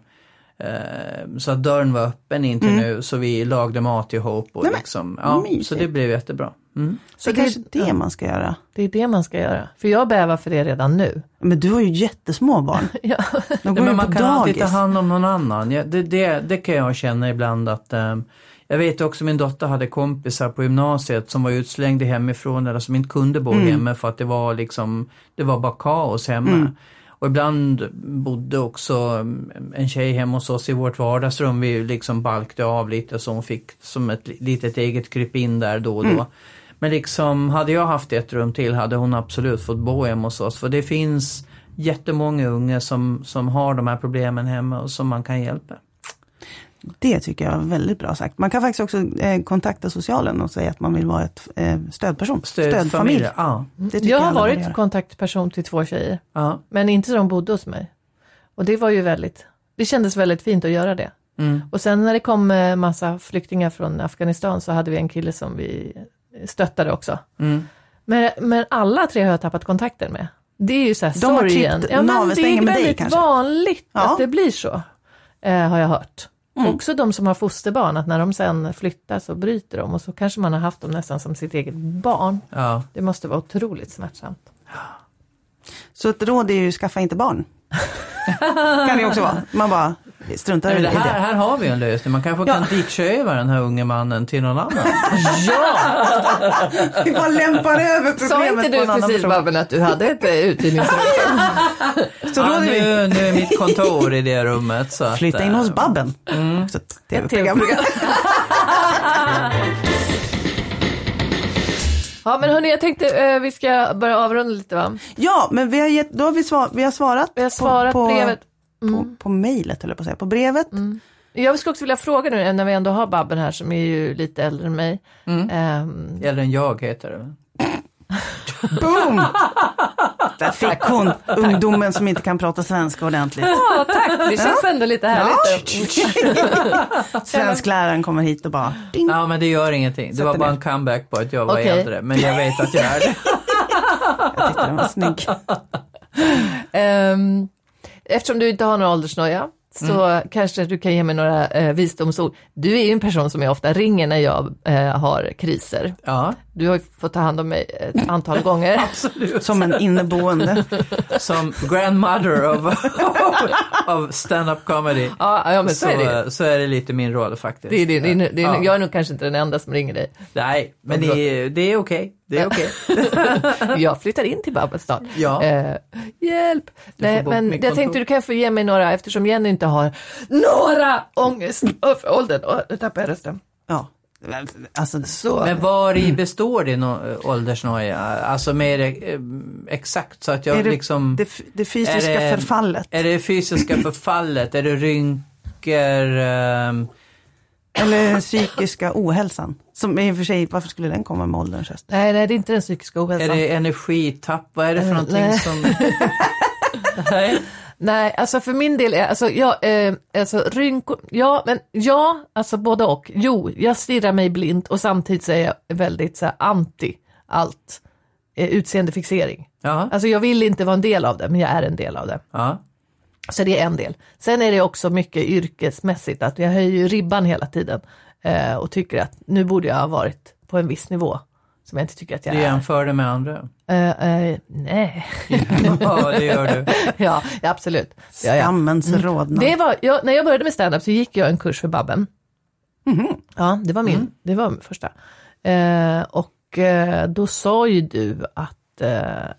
[SPEAKER 2] Eh, så att dörren var öppen in till nu så vi lagade mat ihop.
[SPEAKER 4] Mm.
[SPEAKER 2] Och
[SPEAKER 4] Nej, men,
[SPEAKER 2] liksom, ja, så
[SPEAKER 4] mysigt.
[SPEAKER 2] det blev jättebra. Mm.
[SPEAKER 4] så det
[SPEAKER 3] det-
[SPEAKER 4] kanske det man ska göra.
[SPEAKER 3] Det är det man ska göra. För jag bävar för det redan nu.
[SPEAKER 4] Men du har ju jättesmå barn.
[SPEAKER 3] Ja.
[SPEAKER 4] De går
[SPEAKER 2] Nej, men
[SPEAKER 4] ju
[SPEAKER 2] man
[SPEAKER 4] på
[SPEAKER 2] kan alltid ta
[SPEAKER 4] dagis.
[SPEAKER 2] hand om någon annan. Ja, det, det, det kan jag känna ibland att ehm, jag vet också min dotter hade kompisar på gymnasiet som var utslängda hemifrån eller som inte kunde
[SPEAKER 4] Mm.
[SPEAKER 2] bo hemma för att det var liksom, det var bara kaos hemma.
[SPEAKER 4] Mm.
[SPEAKER 2] Och ibland bodde också mm, en tjej hemma hos oss i vårt vardagsrum. Vi liksom balkade av lite så hon fick som ett li- litet eget kryp in där då och
[SPEAKER 4] Mm.
[SPEAKER 2] då. Men liksom, hade jag haft ett rum till hade hon absolut fått bo hemma hos oss. För det finns jättemånga unga som, som har de här problemen hemma och som man kan hjälpa.
[SPEAKER 4] Det tycker jag är väldigt bra sagt. Man kan faktiskt också eh, kontakta socialen och säga att man vill vara ett eh, stödperson. Stödfamilj.
[SPEAKER 2] Stödfamilj. Ja,
[SPEAKER 4] Det tycker
[SPEAKER 3] Mm. Jag har
[SPEAKER 4] alla borde
[SPEAKER 3] varit
[SPEAKER 4] göra.
[SPEAKER 3] kontaktperson till två tjejer,
[SPEAKER 2] ja.
[SPEAKER 3] men inte så de bodde hos mig. Och det var ju väldigt, det kändes väldigt fint att göra det.
[SPEAKER 2] Mm.
[SPEAKER 3] Och sen när det kom eh, massa flyktingar från Afghanistan så hade vi en kille som vi stöttade också.
[SPEAKER 4] Mm.
[SPEAKER 3] Men, men alla tre har jag tappat kontakten med. Det är ju så här
[SPEAKER 4] De har
[SPEAKER 3] sorgen.
[SPEAKER 4] klippt
[SPEAKER 3] men det
[SPEAKER 4] navelsträngen
[SPEAKER 3] är
[SPEAKER 4] med dig
[SPEAKER 3] väldigt
[SPEAKER 4] kanske?
[SPEAKER 3] vanligt
[SPEAKER 4] Ja. Mm.
[SPEAKER 3] att det blir så, eh, har jag hört. Också de som har fosterbarn, att när de sen flyttar så bryter de och så kanske man har haft dem nästan som sitt eget barn.
[SPEAKER 2] Ja.
[SPEAKER 3] Det måste vara otroligt smärtsamt.
[SPEAKER 4] Så ett råd är ju skaffa inte barn. kan det ju också vara. Man bara struntar
[SPEAKER 2] Nej,
[SPEAKER 4] i
[SPEAKER 2] men det här,
[SPEAKER 4] det.
[SPEAKER 2] här har vi en lösning. Man kanske kan ditcha över den här unge mannen till någon annan.
[SPEAKER 4] Vi bara lämpar över
[SPEAKER 3] Sa
[SPEAKER 4] problemet
[SPEAKER 3] inte
[SPEAKER 4] på
[SPEAKER 3] du
[SPEAKER 4] en annan
[SPEAKER 3] precis
[SPEAKER 4] person.
[SPEAKER 3] Babben att du hade ett eh, uthyrningsrum?
[SPEAKER 4] Så
[SPEAKER 2] ja,
[SPEAKER 4] råder
[SPEAKER 2] nu,
[SPEAKER 4] vi,
[SPEAKER 2] nu är mitt kontor i det rummet. Så att,
[SPEAKER 4] flytta in
[SPEAKER 2] eh,
[SPEAKER 4] hos Babben.
[SPEAKER 3] Mm.
[SPEAKER 4] Också ett TV-program.
[SPEAKER 3] Ja men hörni jag tänkte eh, vi ska börja avrunda lite va?
[SPEAKER 4] Ja, men vi har, gett, då har vi, svar, vi har svarat,
[SPEAKER 3] Vi har svarat
[SPEAKER 4] på, på,
[SPEAKER 3] brevet. Mm.
[SPEAKER 4] på, på mejlet, höll jag på att säga. På brevet.
[SPEAKER 3] Jag skulle också vilja fråga nu när vi ändå har Babben här som är ju lite äldre än mig. Ehm,
[SPEAKER 2] Eller en jag heter det.
[SPEAKER 4] Boom! Där fick hon ungdomen som inte kan prata svenska ordentligt.
[SPEAKER 3] Ja tack, det känns ändå lite härligt.
[SPEAKER 4] Svenskläraren kommer hit och bara, ding.
[SPEAKER 2] Ja, men det gör ingenting. Det var
[SPEAKER 4] Sätter
[SPEAKER 2] bara
[SPEAKER 4] ner.
[SPEAKER 2] en comeback på att jag var
[SPEAKER 3] Okej.
[SPEAKER 2] äldre. Men jag vet att jag är det.
[SPEAKER 4] jag tyckte den var snygg.
[SPEAKER 3] Ehm, eftersom du inte har någon åldersnoja så kanske du kan ge mig några eh, visdomsord. Du är ju en person som jag ofta ringer när jag eh, har kriser.
[SPEAKER 2] Ja,
[SPEAKER 3] Du har ju fått ta hand om mig ett antal gånger.
[SPEAKER 4] Som en inneboende.
[SPEAKER 2] som grandmother av, av stand-up comedy.
[SPEAKER 3] ja, ja, men så,
[SPEAKER 2] Så, eh,
[SPEAKER 3] är det ju.
[SPEAKER 2] så är det lite min roll faktiskt.
[SPEAKER 3] det är, din- din- din-
[SPEAKER 2] Ja.
[SPEAKER 3] Jag är nog kanske inte den enda som ringer dig.
[SPEAKER 2] Nej, men det är, det är okej. Det är okej.
[SPEAKER 3] Jag flyttar in till Babben snart.
[SPEAKER 2] Ja.
[SPEAKER 3] Eh, hjälp! Nej,
[SPEAKER 2] bort
[SPEAKER 3] men
[SPEAKER 2] mitt
[SPEAKER 3] jag tänkte
[SPEAKER 2] kontor.
[SPEAKER 3] du kan få ge mig några, eftersom Jenny inte har några ångest Åh, för åldern. Åh, nu tappade jag rösten.
[SPEAKER 4] Ja, alltså så.
[SPEAKER 2] Men var i består din å- åldersnoja? Alltså mer eh, exakt så att jag
[SPEAKER 4] är det,
[SPEAKER 2] liksom...
[SPEAKER 4] det, f- det fysiska
[SPEAKER 2] är det-
[SPEAKER 4] förfallet.
[SPEAKER 2] Är det fysiska förfallet? Är det rynkor? ehm,
[SPEAKER 4] Eller den psykiska ohälsan. Som i och för sig, varför skulle den komma med ålderns höst?
[SPEAKER 3] Nej, nej, det är inte den psykiska
[SPEAKER 2] Är
[SPEAKER 3] ohälsan.
[SPEAKER 2] det energitapp? Vad är det för någonting
[SPEAKER 3] Alltså- Eh, nej.
[SPEAKER 2] som... Nej.
[SPEAKER 3] Nej, alltså för min del, är, alltså, jag, eh, alltså rynkor, ja, men ja, alltså både och. Jo, jag stirrar mig blind och samtidigt så är jag väldigt så här, anti allt eh, utseendefixering.
[SPEAKER 2] Ja.
[SPEAKER 3] Alltså jag vill inte vara en del av det, men jag är en del av det.
[SPEAKER 2] ja.
[SPEAKER 3] Så det är en del. Sen är det också mycket yrkesmässigt, att jag höjer ju ribban hela tiden eh, och tycker att nu borde jag ha varit på en viss nivå som jag inte tycker att jag
[SPEAKER 2] Du
[SPEAKER 3] är.
[SPEAKER 2] jämför det med andra.
[SPEAKER 3] Eh, eh, nej,
[SPEAKER 2] Ja, det gör du.
[SPEAKER 3] ja, absolut. Ja, ja.
[SPEAKER 4] Skammens
[SPEAKER 2] Mm.
[SPEAKER 4] rodnad.
[SPEAKER 3] Det var, jag, när jag började med stand-up så gick jag en kurs för Babben. Ja, det var min, det var min första. Eh, och eh, då sa ju du att, eh,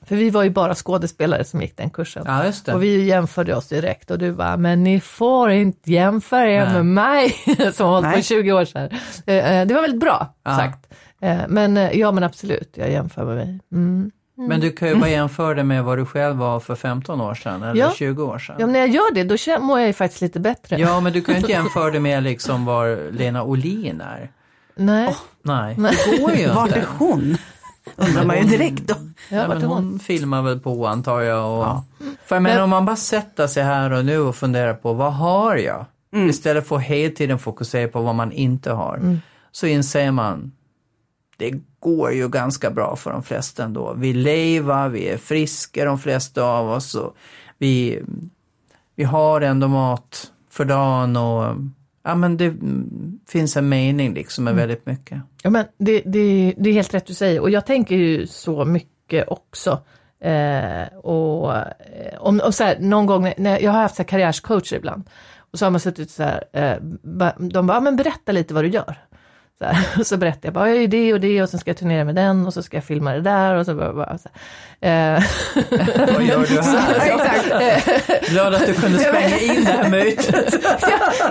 [SPEAKER 3] för vi var ju bara skådespelare som gick den kursen.
[SPEAKER 2] Ja, just det.
[SPEAKER 3] Och vi jämförde oss direkt och du bara, men ni får inte jämföra er
[SPEAKER 2] Nej.
[SPEAKER 3] med mig som har hållit på
[SPEAKER 4] Nej.
[SPEAKER 3] 20 år sedan. Eh, eh, Det var väldigt bra
[SPEAKER 2] Ja.
[SPEAKER 3] sagt. Eh, Men eh, ja, men absolut, jag jämför med mig. Mm.
[SPEAKER 2] Men du kan ju bara jämföra det med vad du själv var för 15 år sedan eller
[SPEAKER 3] Ja.
[SPEAKER 2] 20 år sedan.
[SPEAKER 3] Ja, men när jag gör det, då kän- mår jag ju faktiskt lite bättre.
[SPEAKER 2] Ja, men du kan ju inte jämföra det med liksom var Lena Olin är.
[SPEAKER 3] Nej.
[SPEAKER 2] Nej, det går ju inte.
[SPEAKER 4] Vart är hon? Undrar man ju direkt då.
[SPEAKER 3] Ja,
[SPEAKER 2] Nej,
[SPEAKER 3] vart
[SPEAKER 2] men
[SPEAKER 3] är hon?
[SPEAKER 2] hon filmar väl på antar jag. Och... För jag menar om man bara sätter sig här och nu och funderar på vad har jag? Istället för att hela tiden fokusera på vad man inte har.
[SPEAKER 3] Mm.
[SPEAKER 2] Så inser man, det går ju ganska bra för de flesta ändå. Vi lever, vi är friska de flesta av oss. Och vi, vi har ändå mat för dagen och ja, men det mm, finns en mening liksom
[SPEAKER 3] Mm.
[SPEAKER 2] med väldigt mycket.
[SPEAKER 3] Ja, men det, det, det är helt rätt du säger och jag tänker ju så mycket också. Eh, och eh, om, och så här, någon gång, när- när jag har haft så här karriärscoacher ibland, och så har man suttit så här, eh, ba- de bara, "Ja, men berätta lite vad du gör. Så, här, och så berättar jag, bara, jag gör det och det och sen ska jag turnera med den och så ska jag filma det där och så bara, bara så här. Eh,
[SPEAKER 2] Vad gör du här? Glad att du kunde spänna in det här mötet.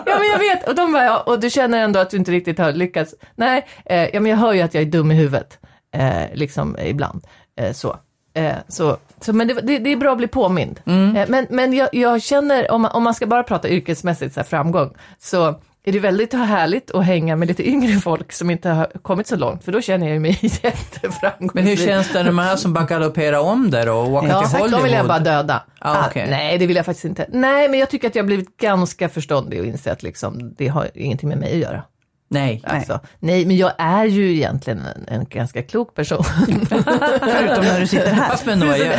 [SPEAKER 3] ja men jag vet, och de bara, ja, och du känner ändå att du inte riktigt har lyckats. Nej, eh, ja men jag hör ju att jag är dum i huvudet, eh, liksom eh, ibland. Eh, så. Eh, så, så, men det, det, det är bra att bli påmind.
[SPEAKER 2] Mm.
[SPEAKER 3] Eh, men men jag, jag känner, om man, om man ska bara prata yrkesmässigt så här, framgång, så är det väldigt härligt att hänga med lite yngre folk som inte har kommit så långt, för då känner jag ju mig jätteframgångsrik.
[SPEAKER 2] Men hur känns det när man är som bara galopperar om det då och åker
[SPEAKER 3] Ja,
[SPEAKER 2] till
[SPEAKER 3] exakt, de
[SPEAKER 2] Hollywood?
[SPEAKER 3] vill jag bara döda.
[SPEAKER 2] Ja,
[SPEAKER 3] Ah,
[SPEAKER 2] okej.
[SPEAKER 3] Nej, det vill jag faktiskt inte. Nej, men jag tycker att jag har blivit ganska förståndig och insett liksom, det har ingenting med mig att göra.
[SPEAKER 2] Nej.
[SPEAKER 3] Alltså, nej, men jag är ju egentligen en, en ganska klok person.
[SPEAKER 4] Förutom när du sitter här.
[SPEAKER 2] Fast med nojor.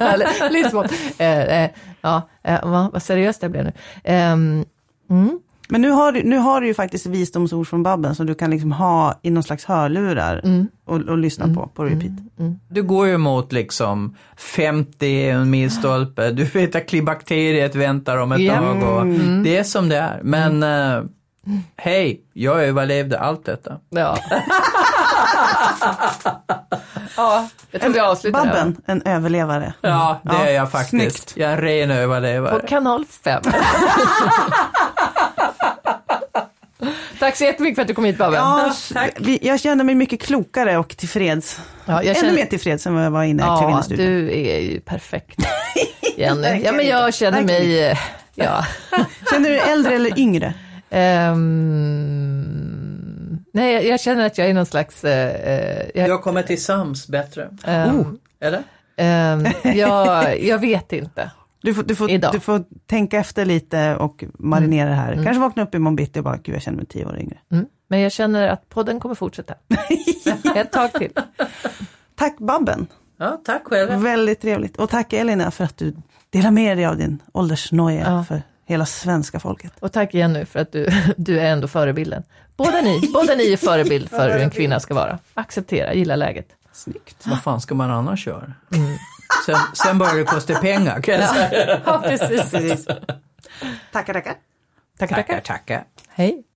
[SPEAKER 3] Eller, Lite smått. Eh, eh, ja, eh, vad, vad seriöst jag blev nu. Ehm, mm.
[SPEAKER 4] Men nu har, du, nu har du ju faktiskt visdomsord från Babben som du kan liksom ha i någon slags hörlurar
[SPEAKER 2] Mm.
[SPEAKER 4] och, och lyssna på, på repeat.
[SPEAKER 2] Du går ju mot liksom 50 är en milstolpe, du vet att klimakteriet väntar om ett
[SPEAKER 3] Ja.
[SPEAKER 2] tag och det är som det är. Men eh, hej, jag överlevde allt detta.
[SPEAKER 3] Ja. ja, jag tror vi avslutar där.
[SPEAKER 4] Babben, en överlevare.
[SPEAKER 2] Ja, Mm. det
[SPEAKER 4] Ja,
[SPEAKER 2] är jag faktiskt.
[SPEAKER 4] snyggt.
[SPEAKER 2] Jag är en ren överlevare.
[SPEAKER 3] På kanal 5. Tack så jättemycket för att du kom hit Babben.
[SPEAKER 4] Ja, s- vi, jag känner mig mycket klokare och tillfreds.
[SPEAKER 3] Ja, jag
[SPEAKER 4] Ännu mer tillfreds än vad jag var innan jag klev in i
[SPEAKER 3] Ja,
[SPEAKER 4] studion.
[SPEAKER 3] du är ju perfekt Jenny. Ja,
[SPEAKER 4] Verkligen
[SPEAKER 3] men jag
[SPEAKER 4] inte.
[SPEAKER 3] känner mig... eh, Ja.
[SPEAKER 4] Känner du dig äldre eller yngre?
[SPEAKER 3] Ehm, nej, jag- jag känner att jag är någon slags... eh, eh, jag,
[SPEAKER 2] Jag kommer till sams bättre.
[SPEAKER 3] ehm,
[SPEAKER 2] Eller?
[SPEAKER 3] ehm, jag, jag vet inte.
[SPEAKER 4] Du får, du,
[SPEAKER 3] Idag.
[SPEAKER 4] får, du får tänka efter lite och marinera det här. Kanske vakna upp imorgon bitti och bara, gud jag känner mig tio år yngre.
[SPEAKER 3] Mm. Men jag känner att podden kommer fortsätta. Ett tag till.
[SPEAKER 4] Tack Babben,
[SPEAKER 2] Ja, tack själv.
[SPEAKER 4] väldigt trevligt. Och tack Elina för att du delar med dig av din åldersnoja
[SPEAKER 3] Ja.
[SPEAKER 4] för hela svenska folket.
[SPEAKER 3] Och tack Jenny för att du, du är ändå förebilden. Båda ni, båda ni är förebild för hur en kvinna ska vara. Acceptera, gilla läget. Mm.
[SPEAKER 4] Snyggt.
[SPEAKER 2] Vad fan ska man annars göra? Sen, sen börjar det kosta pengar kan jag säga.
[SPEAKER 3] Ja, precis.
[SPEAKER 4] Tackar, tackar.
[SPEAKER 3] Tackar, tackar.
[SPEAKER 2] tackar.
[SPEAKER 3] Hej.